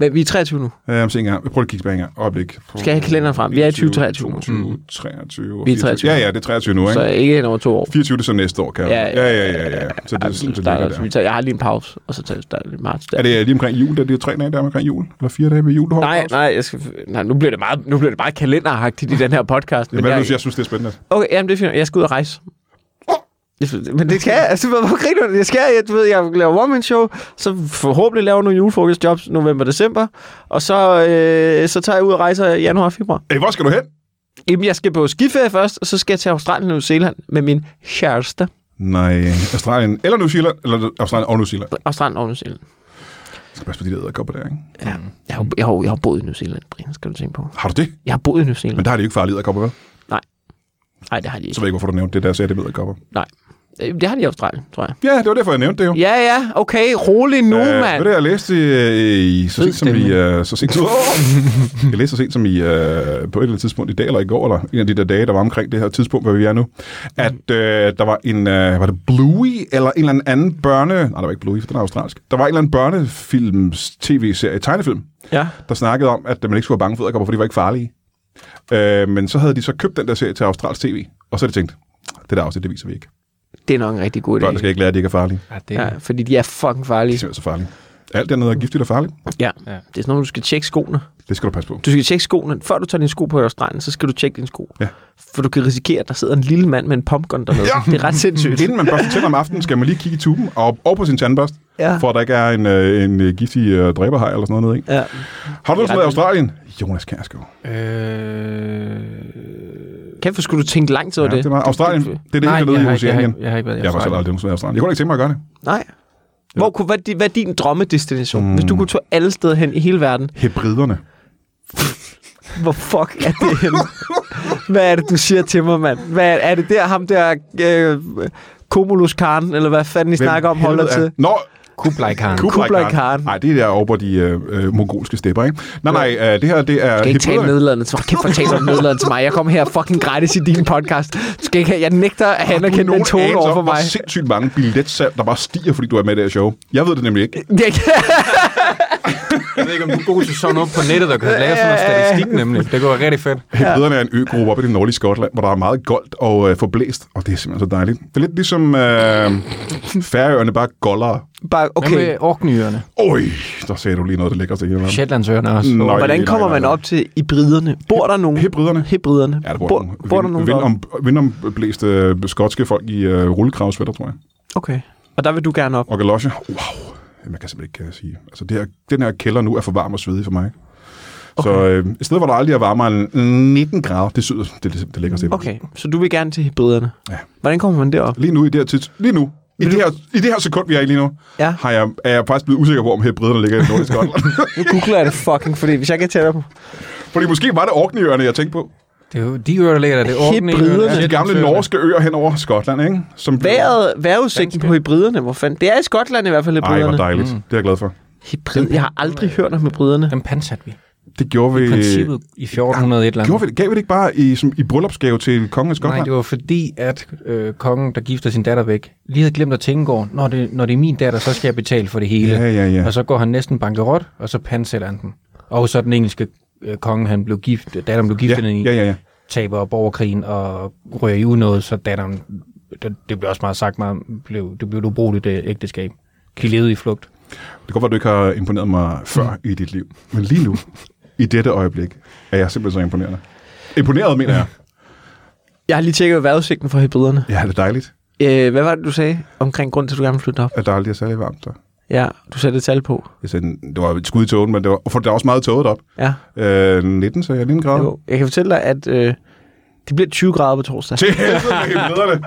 C: men vi er 23 nu.
A: Øh, se en gang. Prøv lige at kigge tilbage en gang. Øjeblik.
C: Skal jeg have kalenderen frem? Vi er i 2023 nu.
A: 22, 23,
C: Vi er i 23.
A: Ja, ja, det er 23 nu, ikke?
C: Så ikke hen over to år.
A: 24 det er så næste år, kan jeg.
C: Ja,
A: ja, ja, ja, ja, ja. Så det, ja,
C: Ja,
A: det,
C: så
A: det, det ligger
C: starter, så vi
A: der.
C: tager, jeg har lige en pause, og så tager vi starter i marts. Der.
A: Er det lige omkring jul? Der? Det er jo tre dage der omkring jul? Eller fire dage ved jul, du holder
C: Nej,
A: pause?
C: nej, jeg skal, nej, nu bliver det meget, nu bliver det meget kalenderagtigt i den her podcast.
A: Jamen, hvad er
C: jeg,
A: det, du siger? Jeg synes, det er spændende.
C: Okay, jamen det er fint. Jeg skal ud og rejse. Jeg synes- Men det skal jeg. Altså, hvor hvor griner du? Jeg skal, jeg, du ved, jeg laver one-man show, så forhåbentlig laver jeg nogle julefrokostjobs november december, og så, øh, så tager jeg ud og rejser i januar og februar.
A: Æh, hvor skal du hen?
C: Jamen, jeg skal på skiferie først, og så skal jeg til Australien og New Zealand med min kæreste.
A: Nej, Australien eller New Zealand, eller Australien og New Zealand.
C: Australien og New Zealand.
A: Jeg skal passe på de der æderkopper der, ikke?
C: Ja. Jeg har, jeg, har, jeg har boet i New Zealand, Brian, skal du tænke på.
A: Har du det?
C: Jeg har boet i New
A: Men
C: Zealand.
A: der har de jo ikke farlige æderkopper, vel?
C: Nej, det har de
A: Så
C: ikke.
A: ved jeg ikke, hvorfor du nævnte det der, så er det med æderkopper.
C: Nej. Øh, Det har de i Australien, tror jeg.
A: Ja, det var derfor, jeg nævnte det jo.
C: Ja, ja, okay, rolig nu,
A: Øh,
C: øh,
A: Ved
C: mand.
A: det, jeg læste øh, i, i så,
B: Fed
A: sent som i,
B: stemning.
A: øh, så sent som Jeg læste så sent som i, øh, på et eller andet tidspunkt i dag eller i går, eller en af de der dage, der var omkring det her tidspunkt, hvor vi er nu, at øh, der var en, øh, var det Bluey, eller en eller anden børne... Nej, der var ikke Bluey, for den er australsk. Der var en eller anden børnefilms tv-serie, tegnefilm,
C: Ja.
A: der snakkede om, at man ikke skulle have bange for æderkopper, for de var ikke farlige. Øh, men så havde de så købt den der serie til australsk tv, og så havde de tænkt, det der afsnit, det viser vi ikke.
C: Det er nok en rigtig god idé.
A: Børn skal ikke lære, at de ikke er farlige.
B: Ja, det,
C: Ja, fordi de er fucking
A: De er
C: farlige.
A: simpelthen så farlige. Alt dernede er giftigt og farligt.
C: Ja. ja.
B: Ja.
C: Det er sådan noget, du skal tjekke skoene.
A: Det skal du passe på.
C: Du skal tjekke skoene. Før du tager dine sko på i Australien, så skal du tjekke dine sko.
A: Ja.
C: For du kan risikere, at der sidder en lille mand med en pumpgun dernede.
A: Ja.
C: Ja. Det er ret sindssygt.
A: Inden man børster tænder om aftenen, skal man lige kigge i tuben og, og på sin tandbørste,
C: Ja.
A: for at der ikke er en, øh, en øh, giftig øh, dræberhaj eller sådan noget. nede i.
C: Ja.
A: Har du noget i
C: ret
A: Australien? Jonas Kjærsgaard.
B: Øh,
C: Kæft, hvor skulle du tænke lang tid over
A: Ja,
C: det?
A: det var Australien. Det er det,
B: nej,
A: der
B: jeg,
A: nede i
B: har ikke, jeg, har
A: Oceanien.
B: ikke, jeg har ikke været i
A: Jeg var selv
B: Australien.
A: aldrig nogensinde i Australien. Jeg kunne ikke tænke mig at gøre det.
C: Nej. Hvor, kunne, hvad, er di- hvad er din drømmedestination? Mm. Hvis du kunne tage alle steder hen i hele verden,
A: Hebriderne.
C: hvor fuck er det henne? hvad er det, du siger til mig, mand? Hvad er, er det der, ham der... Øh, Komulus Khan, eller hvad fanden I snakker om, holder
A: helvede
C: til?
A: er- Nå,
B: Kublai Khan.
A: Kublai
C: Kublai
A: Khan.
C: Khan.
A: Nej, det er der over på de øh, øh, mongolske stepper, ikke? Nej, nej, øh, det her, det er
C: Du skal ikke tale
A: hebriderne.
C: nedladende til mig. Kæft, for taler du nedladende til mig. Jeg kom her fucking gratis i din podcast. Du skal ikke have, jeg nægter at anerkende den
A: Nogen
C: tone
A: anelse
C: over
A: om,
C: for mig.
A: Hvor sindssygt mange billetsalg, der bare stiger, fordi du er med i det her show. Jeg ved det nemlig ikke.
C: Det er-
B: Jeg ved ikke, om du er god til sådan noget på nettet, der kan lave sådan noget statistik nemlig. Det går rigtig fedt.
A: Hebriderne er en øgruppe oppe i det nordlige Skotland, hvor der er meget goldt og øh, forblæst, og det er simpelthen så dejligt. Det er lidt ligesom øh, færøerne, bare goldere.
C: Bare,
B: Hvad
C: okay.
B: med orkneyerne?
A: Øj, der sagde du lige noget, det lækker til hele verden.
B: Shetlandsøerne også.
A: Nå.
B: Nå.
A: Nøj,
C: Hvordan
A: nej,
C: kommer
A: nej,
C: man
A: nej.
C: op til hybriderne? Bor der nogen?
A: Hebriderne.
C: Hebriderne.
A: Ja, der bor,
C: bor,
A: nogle
C: bor der nogen?
A: vind,
C: deroppe?
A: om, vindomblæste øh, skotske folk i øh, rullekravsvætter, tror jeg.
C: Okay. Og der vil du gerne op.
A: Og galosje. Wow. Man kan simpelthen ikke øh, sige. Altså, det her, den her kælder nu er for varm og svedig for mig. Okay. Så øh, et sted, hvor der aldrig er varmere end 19 grader, det syder, det, det, det lækker til.
C: Okay, så du vil gerne til hybriderne.
A: Ja.
C: Hvordan kommer man derop?
A: Lige nu, i det her tids, lige nu, i det, her, i det her sekund, vi er i lige nu,
C: Ja.
A: har jeg, er jeg faktisk blevet usikker på, om hebriderne ligger i det nordlige Skotland.
C: Nu googler jeg det fucking, fordi hvis jeg kan tælle på...
A: Fordi måske var det Orkneyøerne, jeg tænkte på.
B: Det er jo de øer, der ligger der. Det er
C: Hebriderne.
B: orkneyøerne.
A: Ja, de gamle norske øer hen over Skotland, ikke? Som blev-
C: Været, vejrudsigten på hybriderne, hvor fanden... Det er i Skotland i hvert fald,
A: Ej, hvor
C: hybriderne.
A: dejligt. Mm. Det er jeg glad for.
C: Hybrid, jeg har aldrig hørt om hybriderne.
B: Dem pansat vi.
A: Det gjorde vi...
B: I princippet i 1400 et eller andet.
A: Gjorde vi det? Gav vi det ikke bare i, som, i bryllupsgave til kongen af
B: Nej,
A: Skotland?
B: det var fordi, at øh, kongen, der gifter sin datter væk, lige havde glemt at tænke over, når det, når det er min datter, så skal jeg betale for det hele.
A: Ja, ja, ja.
B: Og så går han næsten bankerot, og så pansætter han den. Og så den engelske øh, konge, han blev gift, datteren blev gift
A: ja,
B: ja, i,
A: ja, ja, ja.
B: taber borgerkrigen og rører i unåde, så datteren, det, det blev også meget sagt, meget, blev, det blev et ubrugeligt øh, ægteskab. De levede i flugt.
A: Det kan godt være, du ikke har imponeret mig før i dit liv. Men lige nu, i dette øjeblik, er jeg simpelthen så imponerende. Imponeret, mener jeg.
C: Jeg har lige tjekket vejrudsigten for hybriderne.
A: Ja, det er dejligt,
C: Øh, hvad var det, du sagde omkring grund til, at du gerne vil flytte op?
A: at der aldrig er særlig varmt der.
C: Ja, du satte et tal på.
A: Jeg sagde, det var et skud i tågen, men det var, for der er også meget tåget op.
C: Ja,
A: Øh, 19, så jeg lige en grad.
C: jo. Jeg kan fortælle dig, at øh, det bliver 20 grader på torsdag.
A: Til helvede med hebriderne.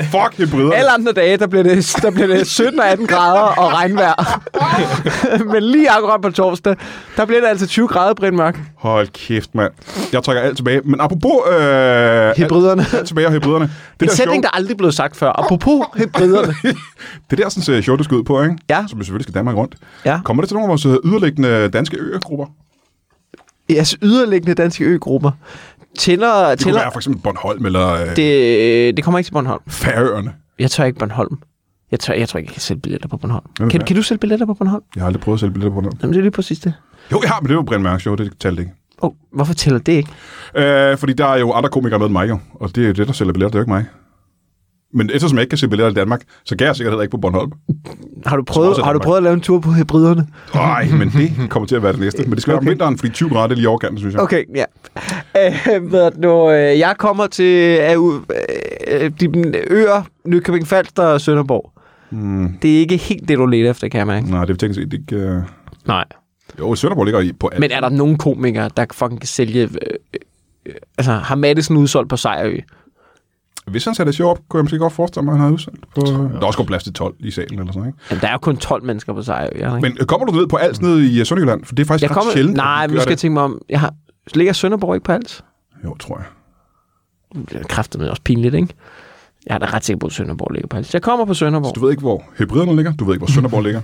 A: Fuck hebriderne.
C: Alle andre dage, der bliver det, der bliver det 17 og 18 grader og regnvejr. Men lige akkurat på torsdag, der bliver det altså 20 grader, Brind Mørk.
A: Hold kæft, mand. Jeg trækker alt tilbage. Men apropos... Øh, alt,
C: Hybriderne.
A: alt tilbage og hybriderne. Det
C: En
A: der show,
C: sætning, der aldrig blev sagt før. Apropos hybriderne.
A: det der sådan, øh, show, du skal ud på, ikke?
C: Ja.
A: Som vi selvfølgelig skal Danmark rundt.
C: Ja.
A: Kommer det til nogle af vores øh, yderliggende danske øgrupper?
C: Jeres yderliggende danske øgrupper. Tænder,
A: Det kunne
C: tænder,
A: være for eksempel Bornholm eller øh, det...
C: det, det kommer ikke til Bornholm.
A: Færøerne.
C: Jeg tør ikke Bornholm. Jeg tør, jeg tror ikke, jeg kan sælge billetter på Bornholm.
A: Hvem
C: Kan,
A: er?
C: kan du sælge billetter på Bornholm?
A: Jeg har aldrig prøvet at sælge billetter på noget.
C: Jamen, det er lige præcis det.
A: Jo, jeg har, men det var Brian Mørk Show, det talte ikke.
C: Oh, hvorfor tæller det ikke?
A: Øh, fordi der er jo andre komikere med end mig jo, og det er jo det, der sælger billetter, det er jo ikke mig. Men eftersom jeg ikke kan sælge billetter i Danmark, så kan jeg sikkert heller ikke på Bornholm.
C: Har du prøvet,
A: også er
C: har du
A: Danmark.
C: prøvet at lave en tur på hybriderne?
A: Nej, men det kommer til at være det næste. Men det skal være om vinteren, fordi 20 grader det er lige overkanten, synes jeg.
C: Okay, ja. Øh, hvad er det nu? Øh, jeg kommer til øh, øh, de øer, Nykøbing Falster og Sønderborg.
A: Hmm.
C: Mm. Det er ikke helt det, du leder efter, kan jeg mærke.
A: Nej, det er teknisk set ikke... Øh...
C: Nej.
A: Jo, Sønderborg ligger i på alt.
C: Men er der nogen komikere, der fucking kan sælge... Øh, øh, altså, har Madison udsolgt på Sejrø?
A: Hvis han satte show op, kunne jeg måske godt forestille mig, at han havde udsendt på... Der er også kun plads til 12 i salen eller sådan, ikke?
C: Jamen, der er jo kun 12 mennesker på Sejrø. er der ikke?
A: Men øh, kommer du ned på alt nede i øh, Sønderjylland? For det er faktisk
C: jeg
A: ret
C: kommer,
A: sjældent.
C: Nej,
A: at
C: men
A: vi
C: nu
A: gør
C: skal jeg
A: det.
C: tænke mig om... Jeg har, ligger Sønderborg ikke på alt?
A: Jo, tror jeg.
C: Det er kraftigt også pinligt, ikke? Jeg er da ret sikker på, at Sønderborg ligger på Als. Jeg kommer på Sønderborg.
A: Du ved ikke, hvor hebriderne ligger. Du ved ikke, hvor Sønderborg ligger.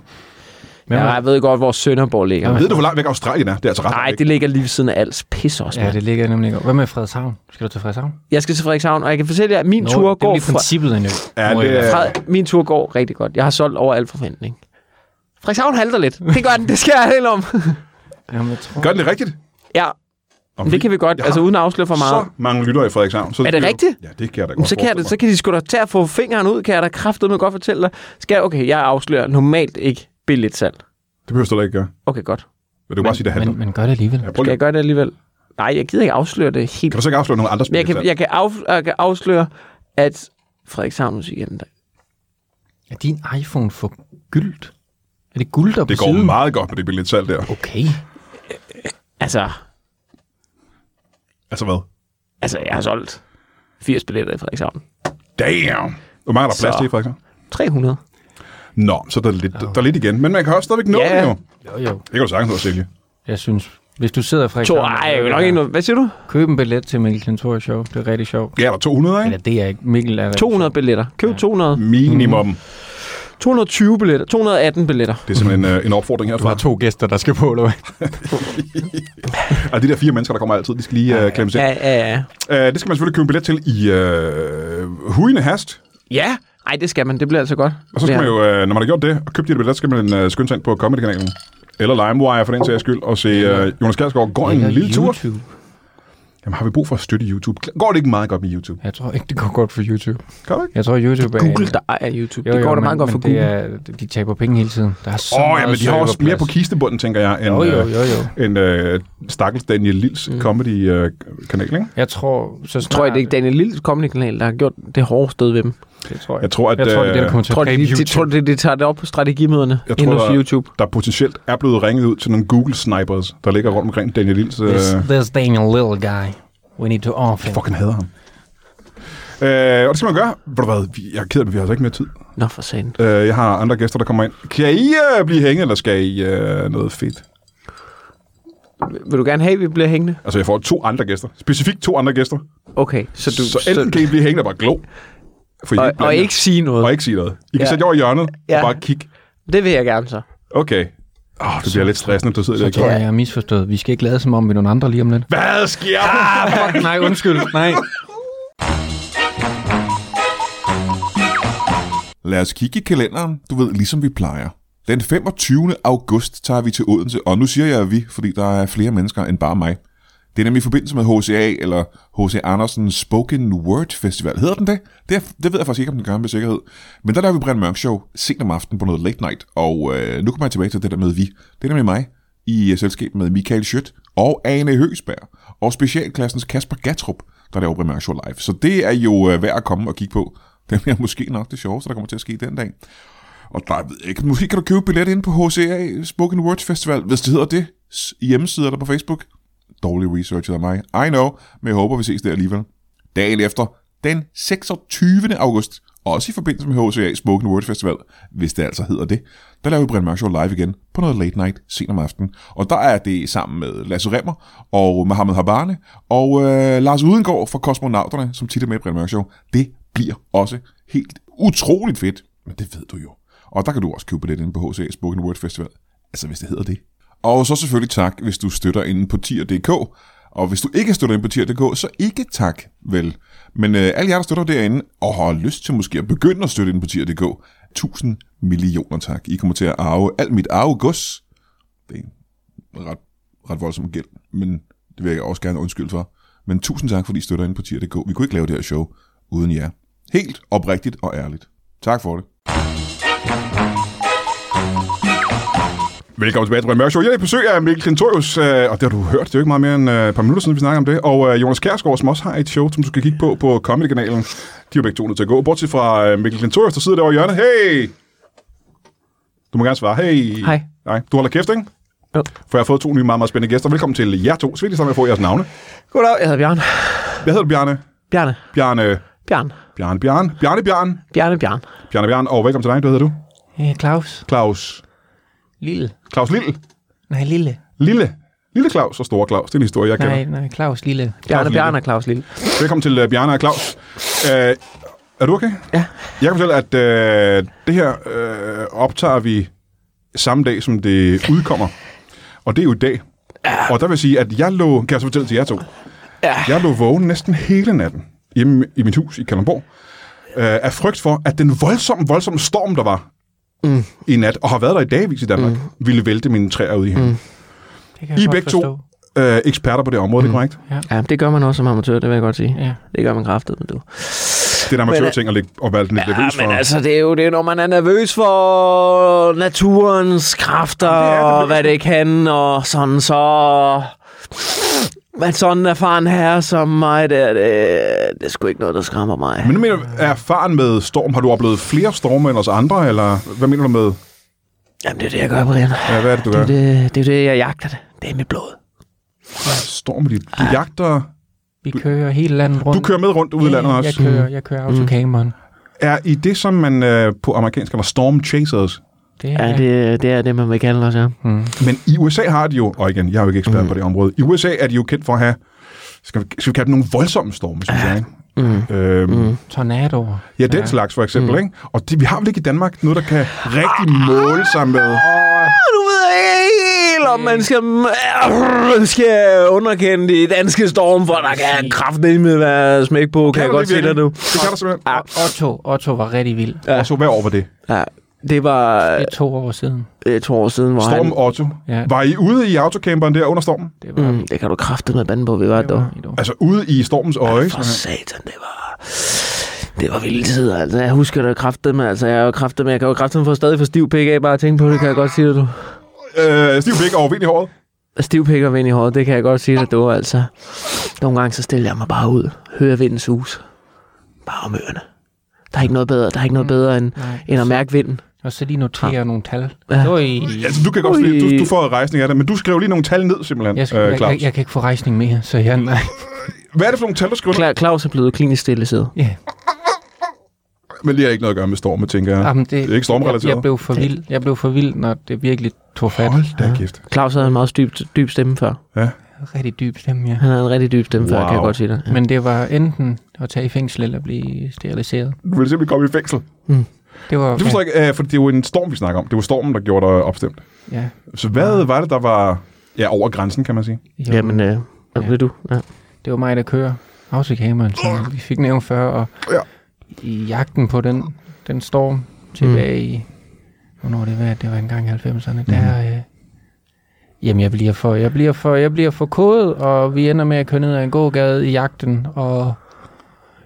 B: Men,
C: Ja, jeg ved godt, hvor Sønderborg ligger.
A: Ved du, hvor langt væk Australien er? Det er altså ret
C: Nej,
A: langt væk.
C: det ligger lige ved siden af Als. Pis også,
B: ja,
C: ja,
B: det ligger jeg nemlig godt. Hvad med Frederikshavn? Skal du til Frederikshavn?
C: Jeg skal til Frederikshavn, og jeg kan fortælle jer, at min tur
B: det er
C: går
B: lige
C: fra...
B: princippet endnu.
A: Ja,
B: Må
A: det
B: jeg-
A: er-
C: Fred, min tur går rigtig godt. Jeg har solgt over al forventning. Frederikshavn halter lidt. Det gør den. Det skal jeg helt om.
B: Jamen, jeg tror...
A: Gør den det rigtigt?
C: Ja,
A: Om
C: det kan vi godt.
A: Jeg
C: Altså
A: har
C: uden at afsløre for meget.
A: Så mange lytter i Frederikshavn. Så
C: Er det
A: jo-
C: rigtigt?
A: Ja, det kan jeg da
C: Jamen,
A: godt
C: så, kan jeg, da-
A: forestille
C: så kan de sgu da tage at få fingeren ud, kan jeg da kraftedeme godt fortælle dig. Skal jeg, okay, jeg afslører normalt ikke billetsalg.
A: mig. Det behøver du da ikke gøre.
C: Okay, godt.
A: Men du kan bare sige, det handler.
B: Men, men gør det alligevel.
A: Ja, prøv
C: Skal
A: lige.
C: jeg gøre det alligevel? Nej, jeg gider ikke afsløre det helt.
A: Kan du så ikke afsløre nogen andre
C: Men jeg
A: spil?
C: kan,
B: Altså-
C: jeg kan, af, jeg kan afsløre, at Frederikshavn Weekend,
B: Er din iPhone for gyldt? Er det guld der
A: Det
B: på
A: går
B: siden?
A: meget godt med det billetsalg der.
B: Okay.
C: altså,
A: Altså hvad?
C: altså, jeg har solgt 80 billetter i Frederikshavn.
A: Damn! Hvor mange er der plads
C: Så.
A: til i Frederikshavn?
C: 300.
A: Nå, så der er, lidt, der er lidt igen. Men man kan også stadigvæk nå
C: Ja.
A: det jo.
B: Jo, jo.
A: Det kan du sagtens nå at sælge.
B: Jeg synes, hvis du sidder i
C: To,
B: Frederikshavn...
C: ej, jeg vil nok ikke noget. Hvad siger du?
B: Køb en billet til Mikkel Klintor show. Det er rigtig sjovt.
A: Ja, der er 200, ikke?
B: Eller det er ikke. Mikkel er Mm. rigtig
C: 200 billetter. Køb 200.
A: Minimum.
C: Mm. 220 billetter. 218 billetter.
A: Det er simpelthen øh, en opfordring
B: sjov.
A: herfra.
B: to gæster, der skal på, eller hvad?
A: Og Altså, de der fire mennesker, der kommer altid, de skal lige øh, klemmes ind.
C: Ja, ja, ja.
A: Øh, det skal man selvfølgelig købe en billet til i øh, hujende hast.
C: Ja, ej, det skal man. Det bliver altså godt.
A: Og så skal
C: Ja.
A: man jo, øh, når man har gjort det, og købt de der billetter, så skal man øh, skynde sig ind på Comedy-kanalen. Eller LimeWire for den sags skyld, og se øh, Jonas Kjærsgaard går en lille tur.
B: YouTube.
A: Jamen, har vi brug for at støtte YouTube? Går det ikke meget godt med YouTube?
B: Jeg tror ikke, det går godt for YouTube.
A: Gør det ikke?
B: Jeg tror, YouTube er...
C: Google, der ejer YouTube. det går da
B: men-
C: meget godt for
B: men
C: Google.
B: Det er, de taber penge hele tiden. Der er så
A: Åh, oh,
B: meget
A: jamen, de har også mere på
B: serverplads.
A: kistebunden, tænker jeg, end,
B: Jo, jo,
A: øh,
B: jo, jo.
A: end øh, Stakkels Daniel Lils mm. comedy-kanal, ikke?
B: Jeg tror, så snart,
C: Tror jeg, det er Daniel Lilles comedy-kanal, der har gjort det hårde sted ved dem.
B: Det tror jeg.
A: Jeg tror, at
B: jeg tror, det er det, der
A: øh,
B: kommer til
C: Tror
B: at
C: du,
B: dræbe
C: de, de,
B: YouTube.
C: tror, de, de tager det op på strategimøderne
A: Jeg tror,
C: inden hos
A: der-
C: YouTube?
A: der potentielt er blevet ringet ud til nogle Google-snipers, der ligger rundt omkring Daniel Lils... Øh,
B: There's, there's Daniel Little Guy. We need to off him.
A: fucking hader ham. Øh, og det skal man gøre. Ved du hvad, vi- jeg er ked af, men vi har altså ikke mere tid.
C: Nå, for satan.
A: Øh, jeg har andre gæster, der kommer ind. Kan I øh, blive hængende, eller skal I øh, noget fedt?
C: Vil du gerne have, at vi bliver hængende?
A: Altså, jeg får to andre gæster. Specifikt to andre gæster.
C: Okay, så du...
A: Du, så enten kan I blive hængende og bare glo. For I
C: og,
A: kan blande
C: og
A: jer.
C: ikke sige noget.
A: og ikke sige noget. I kan
C: Ja.
A: sætte jer over i hjørnet ja.
C: Ja.
A: og bare kigge.
C: Det vil jeg gerne så.
A: Okay. Åh, det bliver lidt stressende, du sidder der
B: Så
A: og
B: tror
A: kigger.
B: jeg, jeg er misforstået. Vi skal ikke lade som om, vi er nogle andre lige om lidt.
A: Hvad sker
C: Ah,
A: der?
B: Fuck, nej, undskyld. Nej.
D: Lad os kigge i kalenderen, du ved, ligesom vi plejer. Den 25. august tager vi til Odense, og nu siger jeg vi, fordi der er flere mennesker end bare mig. Det er nemlig i forbindelse med HCA, eller H.C. Andersens Spoken Word Festival. Hedder den det? Det, er, det ved jeg faktisk ikke, om den gør med sikkerhed. Men der laver vi Brian Mørk Show sent om aftenen på noget late night, og øh, nu kommer jeg tilbage til det der med vi. Det er nemlig mig i øh, selskab med Michael Schødt og Ane Høsberg og specialklassens Kasper Gatrup, der laver Brian Mørk Show live. Så det er jo øh, værd at komme og kigge på. Det bliver måske nok det sjoveste, der kommer til at ske den dag. Og der jeg ved jeg ikke, måske kan du købe billet ind på HCA Spoken Words Festival, hvis det hedder det, s- i hjemmesider eller på Facebook. Dårlig researchet af mig. I know, men jeg håber, vi ses der alligevel. Dagen efter, den 26. august, også i forbindelse med HCA Spoken Word Festival, hvis det altså hedder det, der laver vi Brian Mørk Show live igen på noget late night sent om aftenen. Og der er det sammen med Lasse Remmer og Mohammed Habane og øh, Lars Udengård fra Kosmonauterne, som tit er med i Brian Mørk Show. Det bliver også helt utroligt fedt, men det ved du jo. Og der kan du også købe billet inde på HCA Spoken Word Festival. Altså, hvis det hedder det. Og så selvfølgelig tak, hvis du støtter inde på tier.dk. Og hvis du ikke støtter inde på tier.dk, så ikke tak, vel. Men øh, alle jer, der støtter derinde, og har lyst til måske at begynde at støtte inde på tier.dk, tusind millioner tak. I kommer til at arve alt mit arvegods. Det er en ret, ret voldsom gæld, men det vil jeg også gerne undskylde for. Men tusind tak, fordi I støtter inde på tier.dk. Vi kunne ikke lave det her show uden jer. Helt oprigtigt og ærligt. Tak for det.
A: Velkommen tilbage til Brian Mørk Show. Jeg er i besøg af Mikkel Klintorius, øh, og det har du hørt. Det er jo ikke meget mere end øh, et par minutter siden, vi snakker om det. Og øh, Jonas Kjærsgaard, som også har et show, som du skal kigge på på Comedy-kanalen. De er jo begge to nødt til at gå. Bortset fra øh, Mikkel Klintorius, der sidder derovre i hjørnet. Hey! Du må gerne svare. Hey!
C: Hej.
A: Nej, du holder kæft, ikke?
C: Jo.
A: For jeg har fået to nye meget, meget spændende gæster. Velkommen til jer to. Så vil jeg starte med at få jeres navne.
C: Goddag, jeg hedder Bjørn.
A: Hvad hedder du, Bjarne?
C: Bjarne.
A: Bjarne,
C: Bjarne.
A: Bjarne, Bjarne, Bjarne, Bjarne,
C: Bjarne, Bjarne.
A: Bjarne, Bjarne, og velkommen til dig. Hvad hedder du?
B: Øh, Claus.
A: Claus.
B: Lille.
A: Claus Lille.
B: Nej, Lille.
A: Lille. Lille Claus og store Claus. Det er en historie, jeg kender.
B: Nej, nej, Claus Lille.
C: Bjarne,
A: Lille. øh,
C: Bjarne og Claus Lille.
A: Velkommen til uh, Bjarne og Claus. Uh, Er du okay?
C: Ja.
A: Jeg kan fortælle, at øh, det her øh, optager vi samme dag, som det udkommer. Og det er jo i dag. Og der vil jeg sige, at jeg lå, kan jeg så fortælle til jer to,
C: Ja.
A: jeg lå vågen næsten hele natten hjemme i mit hus i Kalundborg, øh, af frygt for, at den voldsomme, voldsomme storm, der var mm. i nat, og har været der i dagvis i Danmark, mm. ville vælte mine træer ud i haven.
B: Det kan
A: I er begge to øh, eksperter på det område, mm. det er korrekt?
C: Ja, det gør man også som amatør, det vil jeg godt sige.
B: Ja.
C: Det gør man kraftet, men du.
A: Det er en
C: Men, øh,
A: amatørting at, lægge, at være lidt nervøs for.
C: men altså, det er jo det, er, når man er nervøs for naturens kræfter,
A: det er det,
C: og
A: det
C: hvad det kan, og sådan så... Men sådan en erfaren herre som mig, der, det, det er sgu ikke noget, der skræmmer mig.
A: Men nu mener du, er erfaren med storm, har du oplevet flere storme end os andre, eller hvad mener du med,
C: Jamen, det er det, jeg gør, Brian.
A: ja, hvad er det, du
C: Det
A: gør?
C: er det, det, er det jeg jagter det. Det er mit blod.
A: Ah, Storm, de, de jagter...
B: Vi kører hele landet rundt.
A: Du kører med rundt ude i landet
B: Jeg
A: også.
B: kører, jeg kører autocamperen.
A: Er I det, som man øh, på amerikansk kalder storm chasers?
B: Det
C: Ja, det, det er det, man vil kalde os, ja.
A: Men i USA har de jo, og igen, jeg er jo ikke ekspert mm. på det område, i USA er de jo kendt for at have, skal vi, skal vi kalde det nogle voldsomme storme, synes jeg, ikke? Mm. Øhm, mm.
B: tornadoer.
A: Ja, den slags for eksempel, mm. ikke? Og det, vi har vel ikke i Danmark noget, der kan rigtig måle sig med...
C: Nu ved jeg ikke helt, om man skal, skal underkende de danske storm, for der kan kraftedeme være smæk på, kan, kan jeg
A: du
C: godt sige dig
A: virkelig?
C: nu.
A: Det kan der simpelthen.
C: Ja.
B: Otto, Otto var rigtig vild.
A: Ja. Og så hvad over det?
C: Ja, det var
B: Det er to år siden.
C: øh, to år siden, hvor
A: Storm
C: han...
A: Otto.
B: Ja.
A: Ja. Var I ude i autocamperen der under stormen?
B: Det var,
C: Mm, det kan du kraftedeme med bande på, vi var
B: det
C: dog.
B: var et år.
A: Altså ude i stormens øje.
C: For
A: sådan her.
C: satan, det var... Det var vilde tider, altså. Jeg husker det kraftedeme, altså. Jeg er jo kraftedeme, jeg kan jo kraftedeme få stadig for stiv pik af, bare at tænke på det, kan jeg godt sige det, du.
A: Øh, stiv blik og vind i håret.
C: Stiv pik og vind i håret, det kan jeg godt sige det, du, altså. Nogle gange, så stiller jeg mig bare ud, hører vinden sus. Bare om ørerne. Der er ikke noget bedre, der er ikke noget bedre end,
B: Nej.
C: end at mærke vinden.
B: Og så de noterer ja. nogle tal.
C: Ja.
B: Det var i,
A: Altså, du kan godt
C: Ui.
A: se, du, du får rejsning af det, men du skrev lige nogle tal ned, simpelthen,
B: jeg,
A: jeg
B: skal,
A: øh,
B: jeg,
A: Claus.
B: jeg, jeg, kan ikke få rejsning mere, så jeg... Nej.
A: Hvad er det for nogle tal, du skriver ned?
C: Kla- Claus er blevet klinisk stille siden.
B: Ja.
A: Men det har ikke noget at gøre med storme, tænker jeg.
B: Jamen, det,
A: Det er ikke stormrelateret.
B: Jeg, jeg, blev for vild. jeg blev for vild, når det virkelig tog fat.
A: Hold da kæft.
C: Claus havde en meget dyb, dyb stemme før.
A: Ja.
B: Rigtig dyb stemme, ja.
C: Han havde en rigtig dyb stemme wow. før, kan jeg
A: Wow.
C: godt sige det.
B: Men det var enten at tage i fængsel eller blive steriliseret.
A: Du vil simpelthen komme i fængsel.
B: Det var,
A: Du forstår ikke, øh, for det er jo en storm, vi snakker om. Det var stormen, der gjorde dig opstemt.
B: ja,
A: Så hvad var det, der var ja, over grænsen, kan man sige?
B: ja. Jamen.
C: Jamen, øh, hvad blev du? Ja.
B: det var mig, der kører autocamperen, som vi fik nævnt før, og
A: Ja.
B: i jagten på den, den storm tilbage
A: Mm.
B: i, hvornår det var, det var engang i 90'erne, mm. der, øh, jamen jeg bliver, for, jeg, bliver for, jeg bliver for kodet, og vi ender med at køre ned ad en gågade i jagten, og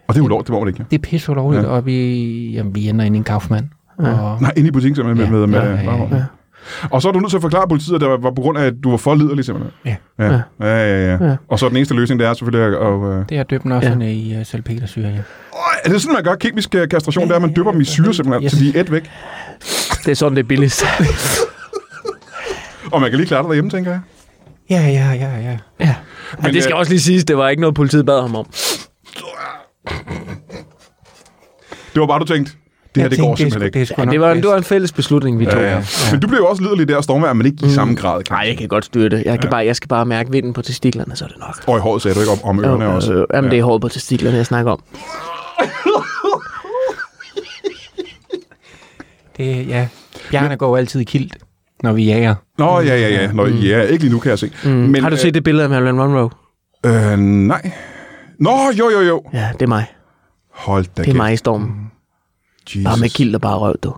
A: Og det er jo lov, det må man ikke. Ja.
B: det er pisse ulovligt, ja.
A: Ja.
B: og vi, jamen, vi ender ind i en kaufmand. Ja. Og,
A: Nej, inde i butikken simpelthen med,
B: Ja.
A: med, med,
B: Ja, ja,
A: med,
B: ja.
A: med Og så er du nødt til at forklare politiet, at det var- var på grund af, at du var for liderlig simpelthen.
B: Ja.
A: Ja. Ja, ja, ja.
C: Ja.
A: ja. Og så er den eneste løsning, det er selvfølgelig at... Og, øh,
B: det er døbt også ja. i uh, salpetersyre, ja.
A: Øj, er det sådan, man gør kemisk øh, kastration, det er, at man dypper dem i syre simpelthen, yes.
B: Yes.
A: så de er et væk.
C: Det er sådan, det er billigst.
A: Og man kan lige klare det derhjemme, tænker jeg.
B: Ja, ja, ja, ja.
C: ja. Men det skal
A: øh,
C: også lige siges, det var ikke noget, politiet bad ham om.
A: Det var bare, du tænkte, det her, det går simpelthen ikke.
B: Det, sgu- det, er sgu
C: Ja,
B: nok
C: det var,
B: bedst.
C: det var en fælles beslutning, vi tog.
A: Ja, ja. Men du blev jo også liderlig der af stormvejr, men ikke i samme grad. Kan.
C: Nej, jeg kan godt styre det. Jeg, kan bare, jeg skal bare mærke vinden på testiklerne, så er det nok.
A: Og i håret sagde du ikke om, om ørerne
C: Jo,
A: også.
C: øh, jamen, det er håret på testiklerne, jeg snakker om.
B: Det, ja. Bjarne går jo altid i kilt, når vi jager.
A: Nå, ja, ja, ja. Nå, ja, ikke lige nu, kan jeg se. Mm. Men,
C: Har du set det billede af Marilyn Monroe?
A: Øh, øh, nej. Nå, jo, jo, jo.
C: Ja, det er mig.
A: Hold da
C: Det er
A: kæft.
C: mig i stormen.
A: Mm. Jesus.
C: Bare med kild og bare røv, du.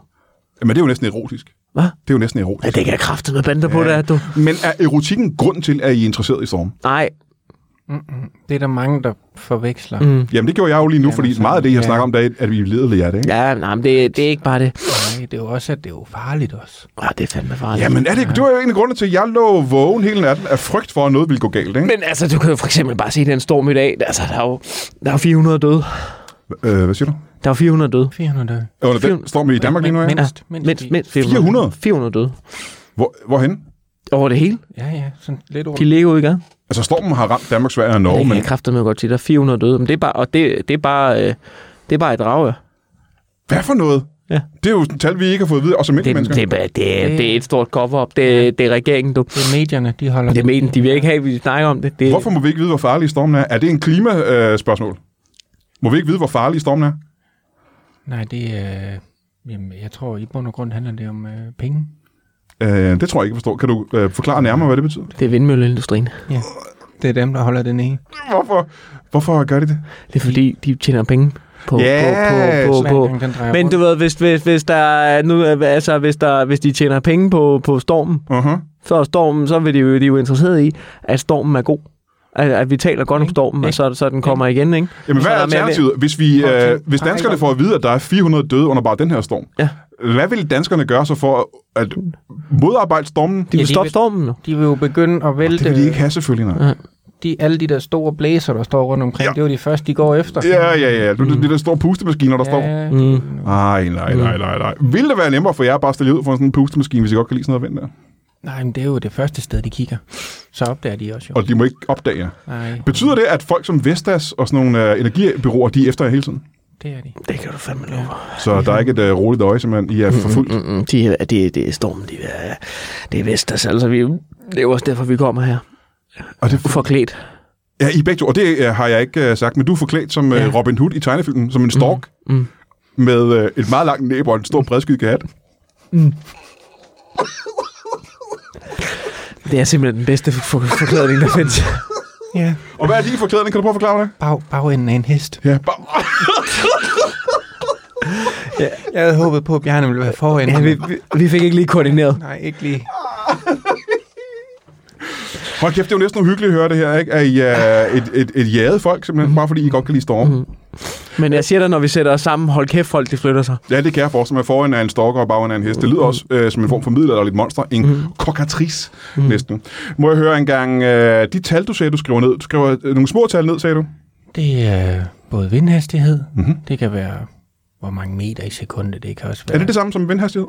A: Men det er jo næsten erotisk.
C: Hvad?
A: Det er jo næsten
C: Ja,
A: erotisk.
C: det kan jeg kraftigt med bander på, det er du.
A: Men er erotikken grund til, at I er interesseret i storm?
C: Nej,
B: Det er der mange, der forveksler. Mm.
A: Jamen, det gjorde jeg jo lige nu, fordi
B: så-
A: meget af det, jeg
B: ja.
A: snakker om, det er, at vi er liderlige af det, ikke?
C: ja, nej, men det, det er ikke bare det.
B: Nej, det er jo også, at det er jo farligt også.
C: Ah, det er fandme farligt.
A: Jamen, er det, ikke- det var jo en af grundene til, at jeg lå vågen hele natten af frygt for, at noget ville gå galt, ikke?
C: Men altså, du kan jo for eksempel bare se den storm i dag. Altså, der er jo der er 400 døde.
A: Øh, hvad siger du?
C: Der er 400 døde.
B: 400 døde.
A: Under den
C: Film-
A: står vi i Danmark lige nu, ja.
B: Men- Mindst,
C: Ja,
B: mindst
C: mindst,
B: ti.
C: mindst
A: 400?
C: 400 døde.
A: Hvor, hvorhen?
C: Over det hele.
B: Ja, ja, sådan lidt over.
C: De ligger ude i gang.
A: Altså, stormen har ramt Danmark, Sverige og
C: Det
A: Norge,
C: kan
A: men
C: jeg kraftedeme godt sige. Der er 400 døde. Men det er bare, og det, det er bare, øh, det er bare et drage.
A: hvad for noget?
C: Ja.
A: Det er jo sådan tal, vi ikke har fået at vide, og som
C: Det,
A: mennesker.
C: det, er bare- det, er- det er et stort cover-up. Det, det er regeringen, du.
B: Det er medierne, de holder
C: Det mener, de vil ikke have, at vi snakker om det. det
A: Hvorfor må vi ikke vide, hvor farlig stormen er? Er det en klimaspørgsmål? Øh, spørgsmål? må vi ikke vide, hvor farlig stormen er?
B: Nej, det er... Øh, jamen, jeg tror, i bund og grund handler det om øh, penge.
A: Øh, det tror jeg ikke, jeg forstår. Kan du øh, forklare nærmere, hvad det betyder?
C: Det er vindmølleindustrien.
B: Ja. Det er dem, der holder den ene.
A: Hvorfor, hvorfor gør de det?
C: Det er fordi, de tjener penge på...
A: Ja,
C: på, på,
B: Hver
C: på, på.
B: gang den drejer
C: Men
B: rundt.
C: du ved, hvis, hvis, hvis, der, er nu, øh, altså, hvis, der, hvis de tjener penge på, på stormen,
A: Uh-huh.
C: så er stormen, så vil de jo, de er jo interesseret i, at stormen er god. At, at vi taler godt om
B: Ikke?
C: stormen, og
B: Ikke?
C: så, så den kommer igen, ikke?
A: Jamen,
C: Så
A: hvad
C: er
A: er
C: der mere
A: alternativet? Hvis, vi,
B: Prøv at
A: øh,
B: tænke.
A: hvis
B: Nej,
A: danskerne
B: ikke.
A: får at vide, at der er 400 døde under bare den her storm,
C: Ja.
A: hvad vil danskerne gøre så for at modarbejde stormen?
C: De
A: Det
C: vil
B: de
C: stoppe
B: vil-
C: stormen nu.
B: De vil jo begynde at vælte
A: vil de ikke have, selvfølgelig. Nej.
B: de, alle de der store blæser, der står rundt omkring.
A: Ja.
B: Ja. Det er jo de første, de går efter.
A: Ja, ja, ja. Du, det, det der store pustemaskiner, der står.
B: Ja,
C: Mm.
A: Ej, nej, nej, nej, nej. Ville det være nemmere for jer at bare stille ud for sådan en pustemaskine, hvis I godt kan lide sådan noget vind der?
B: Nej, men det er jo det første sted, de kigger. Så opdager de også jo.
A: Og de må ikke opdage jer.
B: Nej,
A: Betyder det, at folk som Vestas og sådan nogle øh, energibyråer, de er efter jer hele tiden?
B: det er de.
C: Det kan du fandme love.
A: Så der er ikke et øh, roligt øje, simpelthen. I er forfulgt.
C: Mm, mm, de, er- det, det er stormen, de er, det er Vestas. Altså, vi, det er jo også derfor, vi kommer her. mm.
A: Og det,
C: Forklædt.
A: ja, I er begge to. Og det øh, har jeg ikke øh, sagt, men du er forklædt som øh,
C: Ja.
A: Robin Hood i tegnefilmen, som en stork.
C: Mm, mm.
A: Med øh, et meget langt næb og en stor bredskyet hat.
C: Det er simpelthen den bedste for- for- forklædning, der findes.
B: Ja.
A: Og hvad er din forklædning? Kan du prøve at forklare mig det?
B: Bag, bagenden af en hest.
A: Ja, bare...
B: Jeg havde håbet på, at Bjarne ville være foran.
C: ja, vi, vi, vi fik ikke lige koordineret.
B: Nej, ikke lige.
A: Hold kæft, det er jo næsten uhyggeligt at høre det her, ikke? At I er et, et, et jaget folk, simpelthen, bare fordi I godt kan lide storme.
C: Men jeg siger dig, når vi sætter os sammen, hold kæft folk, de flytter sig.
A: Ja, det kan jeg forestille mig. Foran er en storker, og bagenden er en hest. Det lyder også øh, som en form for middelalderligt monster. En mm. kokatrice, mm. næsten. Må jeg høre engang, øh, de tal, du sagde, du skriver ned. Du skriver øh, nogle små tal ned, sagde du.
B: Det er både vindhastighed. Mm-hmm. Det kan være, hvor mange meter i sekundet. Det kan også være...
A: Er det det samme som vindhastighed?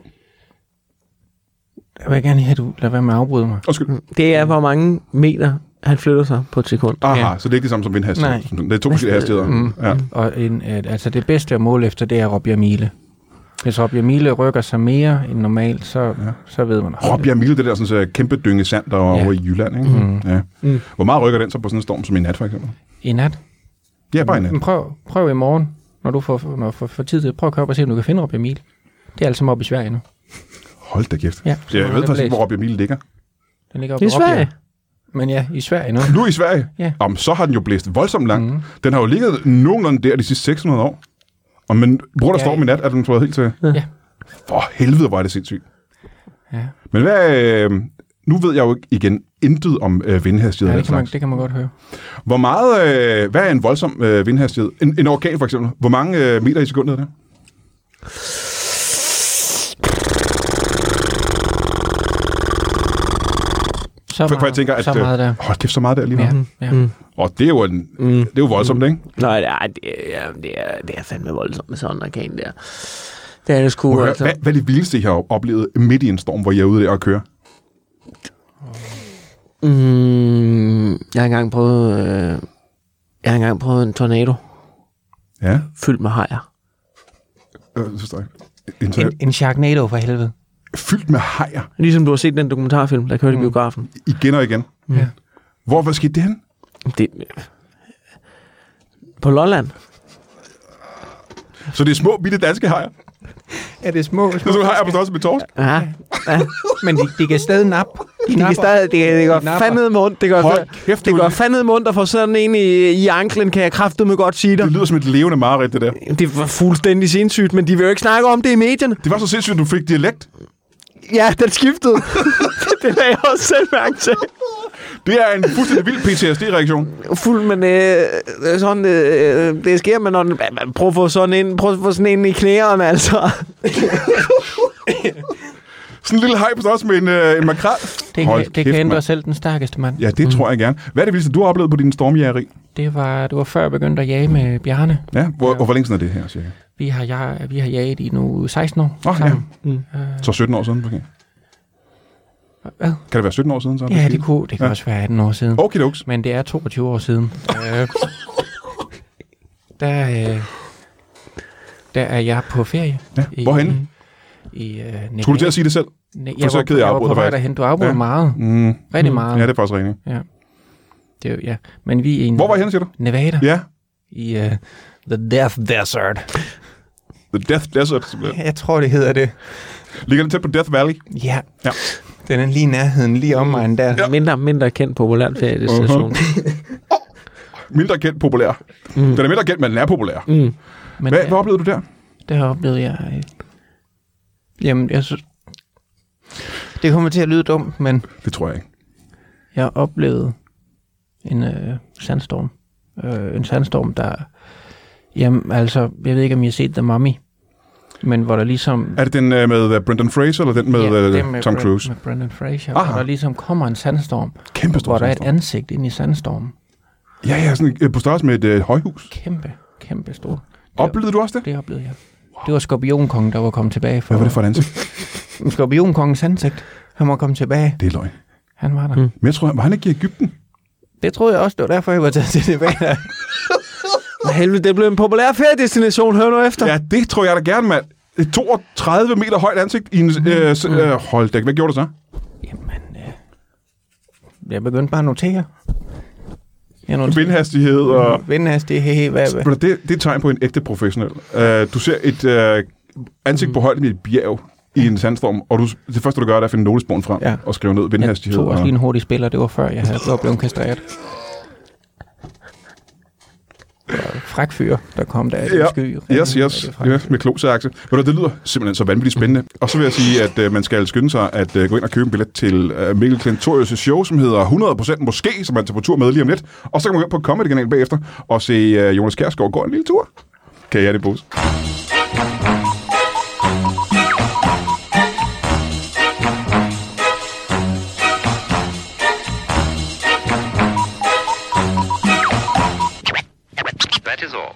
B: Jeg vil gerne have, at du lader være med at afbryde mig.
A: Undskyld. Mm.
C: Det er, hvor mange meter han flytter sig på et sekund.
A: Aha, så det er ikke det samme som vindhastighed. Nej. Det er to forskellige hastigheder.
B: Mhm.
A: Mm. Ja.
B: Og en, øh, altså det bedste at måle efter, det er Rob Jamile. Hvis Rob Jamile rykker sig mere end normalt, så, ja. så ved man...
A: Rob Jamil, det der sådan, så kæmpe dynge sand, der var
B: Ja.
A: over i Jylland. Ikke? Mm. Ja. Mm. Hvor meget rykker den så på sådan en storm som i nat, for eksempel?
B: I nat?
A: Ja, bare i nat.
B: Men prøv, prøv i morgen, når du får, når du får, får tid til det. Prøv at køre op og se, om du kan finde Rob Jamile. Det er altså op i Sverige nu.
A: Hold da kæft.
B: Ja,
A: Ja, jeg ved
B: det
A: faktisk ikke,
B: blæser.
A: hvor Rob Jamil ligger.
B: Den ligger op
C: Det er
B: i Råbjerg.
C: Sverige.
B: Men ja, i Sverige nu.
A: Nu i Sverige?
B: Ja.
A: Jamen, så har den jo blæst voldsomt langt. Mm. Den har jo ligget nogenlunde der de sidste 600 år. Og men bruger der
B: Ja,
A: storm i nat, er den flået helt til.
B: Ja.
A: For helvede, hvor er det sindssygt.
B: Ja.
A: Men hvad... Øh, nu ved jeg jo ikke igen intet om øh, vindhastighed.
B: Ja,
A: Ja,
B: det, kan man,
A: slags.
B: det kan man godt høre.
A: Hvor meget... Øh, hvad er en voldsom øh, vindhastighed? En, en orkan for eksempel. Hvor mange øh, meter i sekundet er det?
B: Så
A: For, for jeg tænker, at...
B: så meget der.
A: Øh, hold kæft, så meget der lige nu.
B: Ja,
A: Ja.
B: ja.
C: Mm.
A: Og det er jo, en, mm. det er jo voldsomt, ikke?
C: Nej, nej, det er, det er, det er fandme voldsomt med sådan en orkan der. Det er det sgu,
A: Prøv at høre,
C: altså.
A: Hvad, hvad er det vildeste, I har oplevet midt i en storm, hvor I er ude der og kører?
C: Mm, jeg har engang prøvet... Øh, jeg har engang prøvet en tornado
A: Ja,
C: fyldt med hajer.
A: øh, så står jeg. En,
B: En, en Sharknado for helvede.
A: fyldt med hajer.
C: Ligesom du har set den dokumentarfilm, der kørte mm. i biografen.
A: igen og igen.
B: Ja.
A: Hvor, hvad skete det hen?
C: Det, på Lolland.
A: Så det er små, bitte danske hajer. Det
B: Er det små?
A: er sådan nogle hajer på størrelse med torsk.
C: Ja, ja.
B: Men de, de kan stadig nap. De,
C: Det, kan stadig, det, det gør
B: napper.
C: fandme med ondt. Det gør,
A: Hold
C: det,
A: kæft,
C: det
A: du-
C: gør fandme med ondt at få sådan en i, i anklen, kan jeg kraftedeme godt sige dig.
A: Det lyder som et levende mareridt, det der.
C: Det var fuldstændig sindssygt, men de vil jo ikke snakke om det i medierne.
A: Det var så sindssygt, at du fik dialekt.
C: Ja, den skiftede. det lagde jeg også selv mærke til.
A: Det er en fuldstændig vild PTSD-reaktion.
C: Fuld, men øh, sådan, øh, det sker, men når den, man, man, prøv, at få sådan en, prøv at få sådan en i knæerne, altså.
A: Sådan en lille haj på størrelse med en, øh, en makrel.
B: Det,
A: Hold
B: kan, det kan
A: kæft,
B: ændre Mm.
A: mand.
B: selv den stærkeste mand.
A: Ja, det tror jeg gerne. Hvad er det vildeste, du har oplevet på din stormjægeri?
B: Det var, det var før jeg begyndte at jage med Bjarne.
A: Ja, hvor, og hvor længe siden er det her, cirka?
B: Vi har, jeg, vi har jaget i nu 16 år
A: Åh, ja.
B: sammen. Øh,
A: Så 17 år siden, okay.
B: Hvad?
A: Kan det være 17 år siden? Så
B: Ja, det kunne, det kan
A: Ja.
B: ja. også være 18 år siden. Oh.
A: Okay, doks.
B: Men det er 22 år siden. Øh, der, øh, der er jeg på ferie.
A: Ja, hvorhenne?
B: I, øh,
A: Skulle du
B: Nepal.
A: til at sige det selv?
B: Nej,
A: så er jeg ked af, at jeg
B: jeg var
A: afbryder
B: på vej
A: faktisk.
B: derhen. Du afbryder
A: Ja.
B: ja. meget.
A: Mm.
B: Rigtig meget.
A: Ja, det er faktisk rigtigt.
B: Ja. Det, er jo- ja. Men vi er i øh,
A: Hvor var I henne, siger du?
B: Nevada.
A: Ja.
B: I uh, The Death Desert.
A: The Death Desert, simpelthen.
B: Jeg tror, det hedder det.
A: Ligger den tæt på Death Valley?
B: Ja.
A: Ja.
B: Den er lige i nærheden, lige om mig der. Ja.
C: Mindre og mindre kendt populært feriedestination. Uh-huh.
A: Mindre kendt populær. Mm. Den er mindre kendt, men den er populær. Mm.
B: Men
A: Hvad, hvad oplevede du der?
B: det har oplevet jeg. øh, Jamen, jeg synes... Det kommer til at lyde dumt, men
A: Det tror jeg ikke.
B: jeg oplevede en øh, sandstorm. Øh, en sandstorm, der... Jamen, altså, jeg ved ikke, om I har set The Mummy, men hvor der ligesom...
A: Er det den øh, med øh, Brendan Fraser, eller den med, ja,
B: det er
A: den med Tom
B: Bren-
A: Cruise?
B: Med Brendan Fraser,
A: Aha.
B: hvor der ligesom kommer en sandstorm,
A: Kæmpe stor
B: hvor der er et
A: sandstorm.
B: ansigt inde i sandstormen.
A: Ja, ja, sådan øh, på størrelse med et øh, højhus.
B: Kæmpe, kæmpe stor.
A: Oplevede du også det?
B: Det oplevede jeg. Det var skorpionkongen, der var kommet tilbage for...
A: Hvad var det for et ansigt?
B: Skorpionkongens ansigt. Han var kommet tilbage.
A: Det er løgn.
B: Han var der. Mm.
A: Men jeg tror, var han ikke i Ægypten?
B: Det troede jeg også, det var derfor, jeg var taget til Nevada.
C: Helvede, det blev en populær feriedestination, hør nu efter.
A: Ja, det tror jeg da gerne, mand. Et 32 meter højt ansigt i en... Øh, s- øh, hold da, hvad gjorde du så?
B: Mhm. Jamen, øh, jeg begyndte bare at notere. Jeg noterede
A: Vindhastighed og...
B: vindhastighed, hey, hey, hvad, hvad.
A: Ved du, Det, det er et tegn på en ægte professionel. Uh, du ser et uh,
B: Mhm.
A: ansigt på højde med et bjerg i en sandstorm, og du, det første, du gør, det er at finde notesporen frem ja.
B: Ja.
A: og skrive ned
B: Jeg
A: vindhastighed.
B: tog også
A: og-
B: lige en hurtig spiller, det var før, jeg havde var blevet kastreret. Det var en Fræk fyr, der kom der af den
A: Ja,
B: sky.
A: yes, yes, ja, med klogsakse. Ved du, det lyder simpelthen så vanvittigt spændende. Og så vil jeg sige, at øh, man skal skynde sig at øh, gå ind og købe en billet til øh, Mikkel Klintorius' show, som hedder 100% Måske, som man tager på tur med lige om lidt. Og så kan man gå ind på comedy kanalen bagefter og se øh, Jonas Kjærsgaard gå en lille tur. Kan jeg det, Bose?
E: That is all.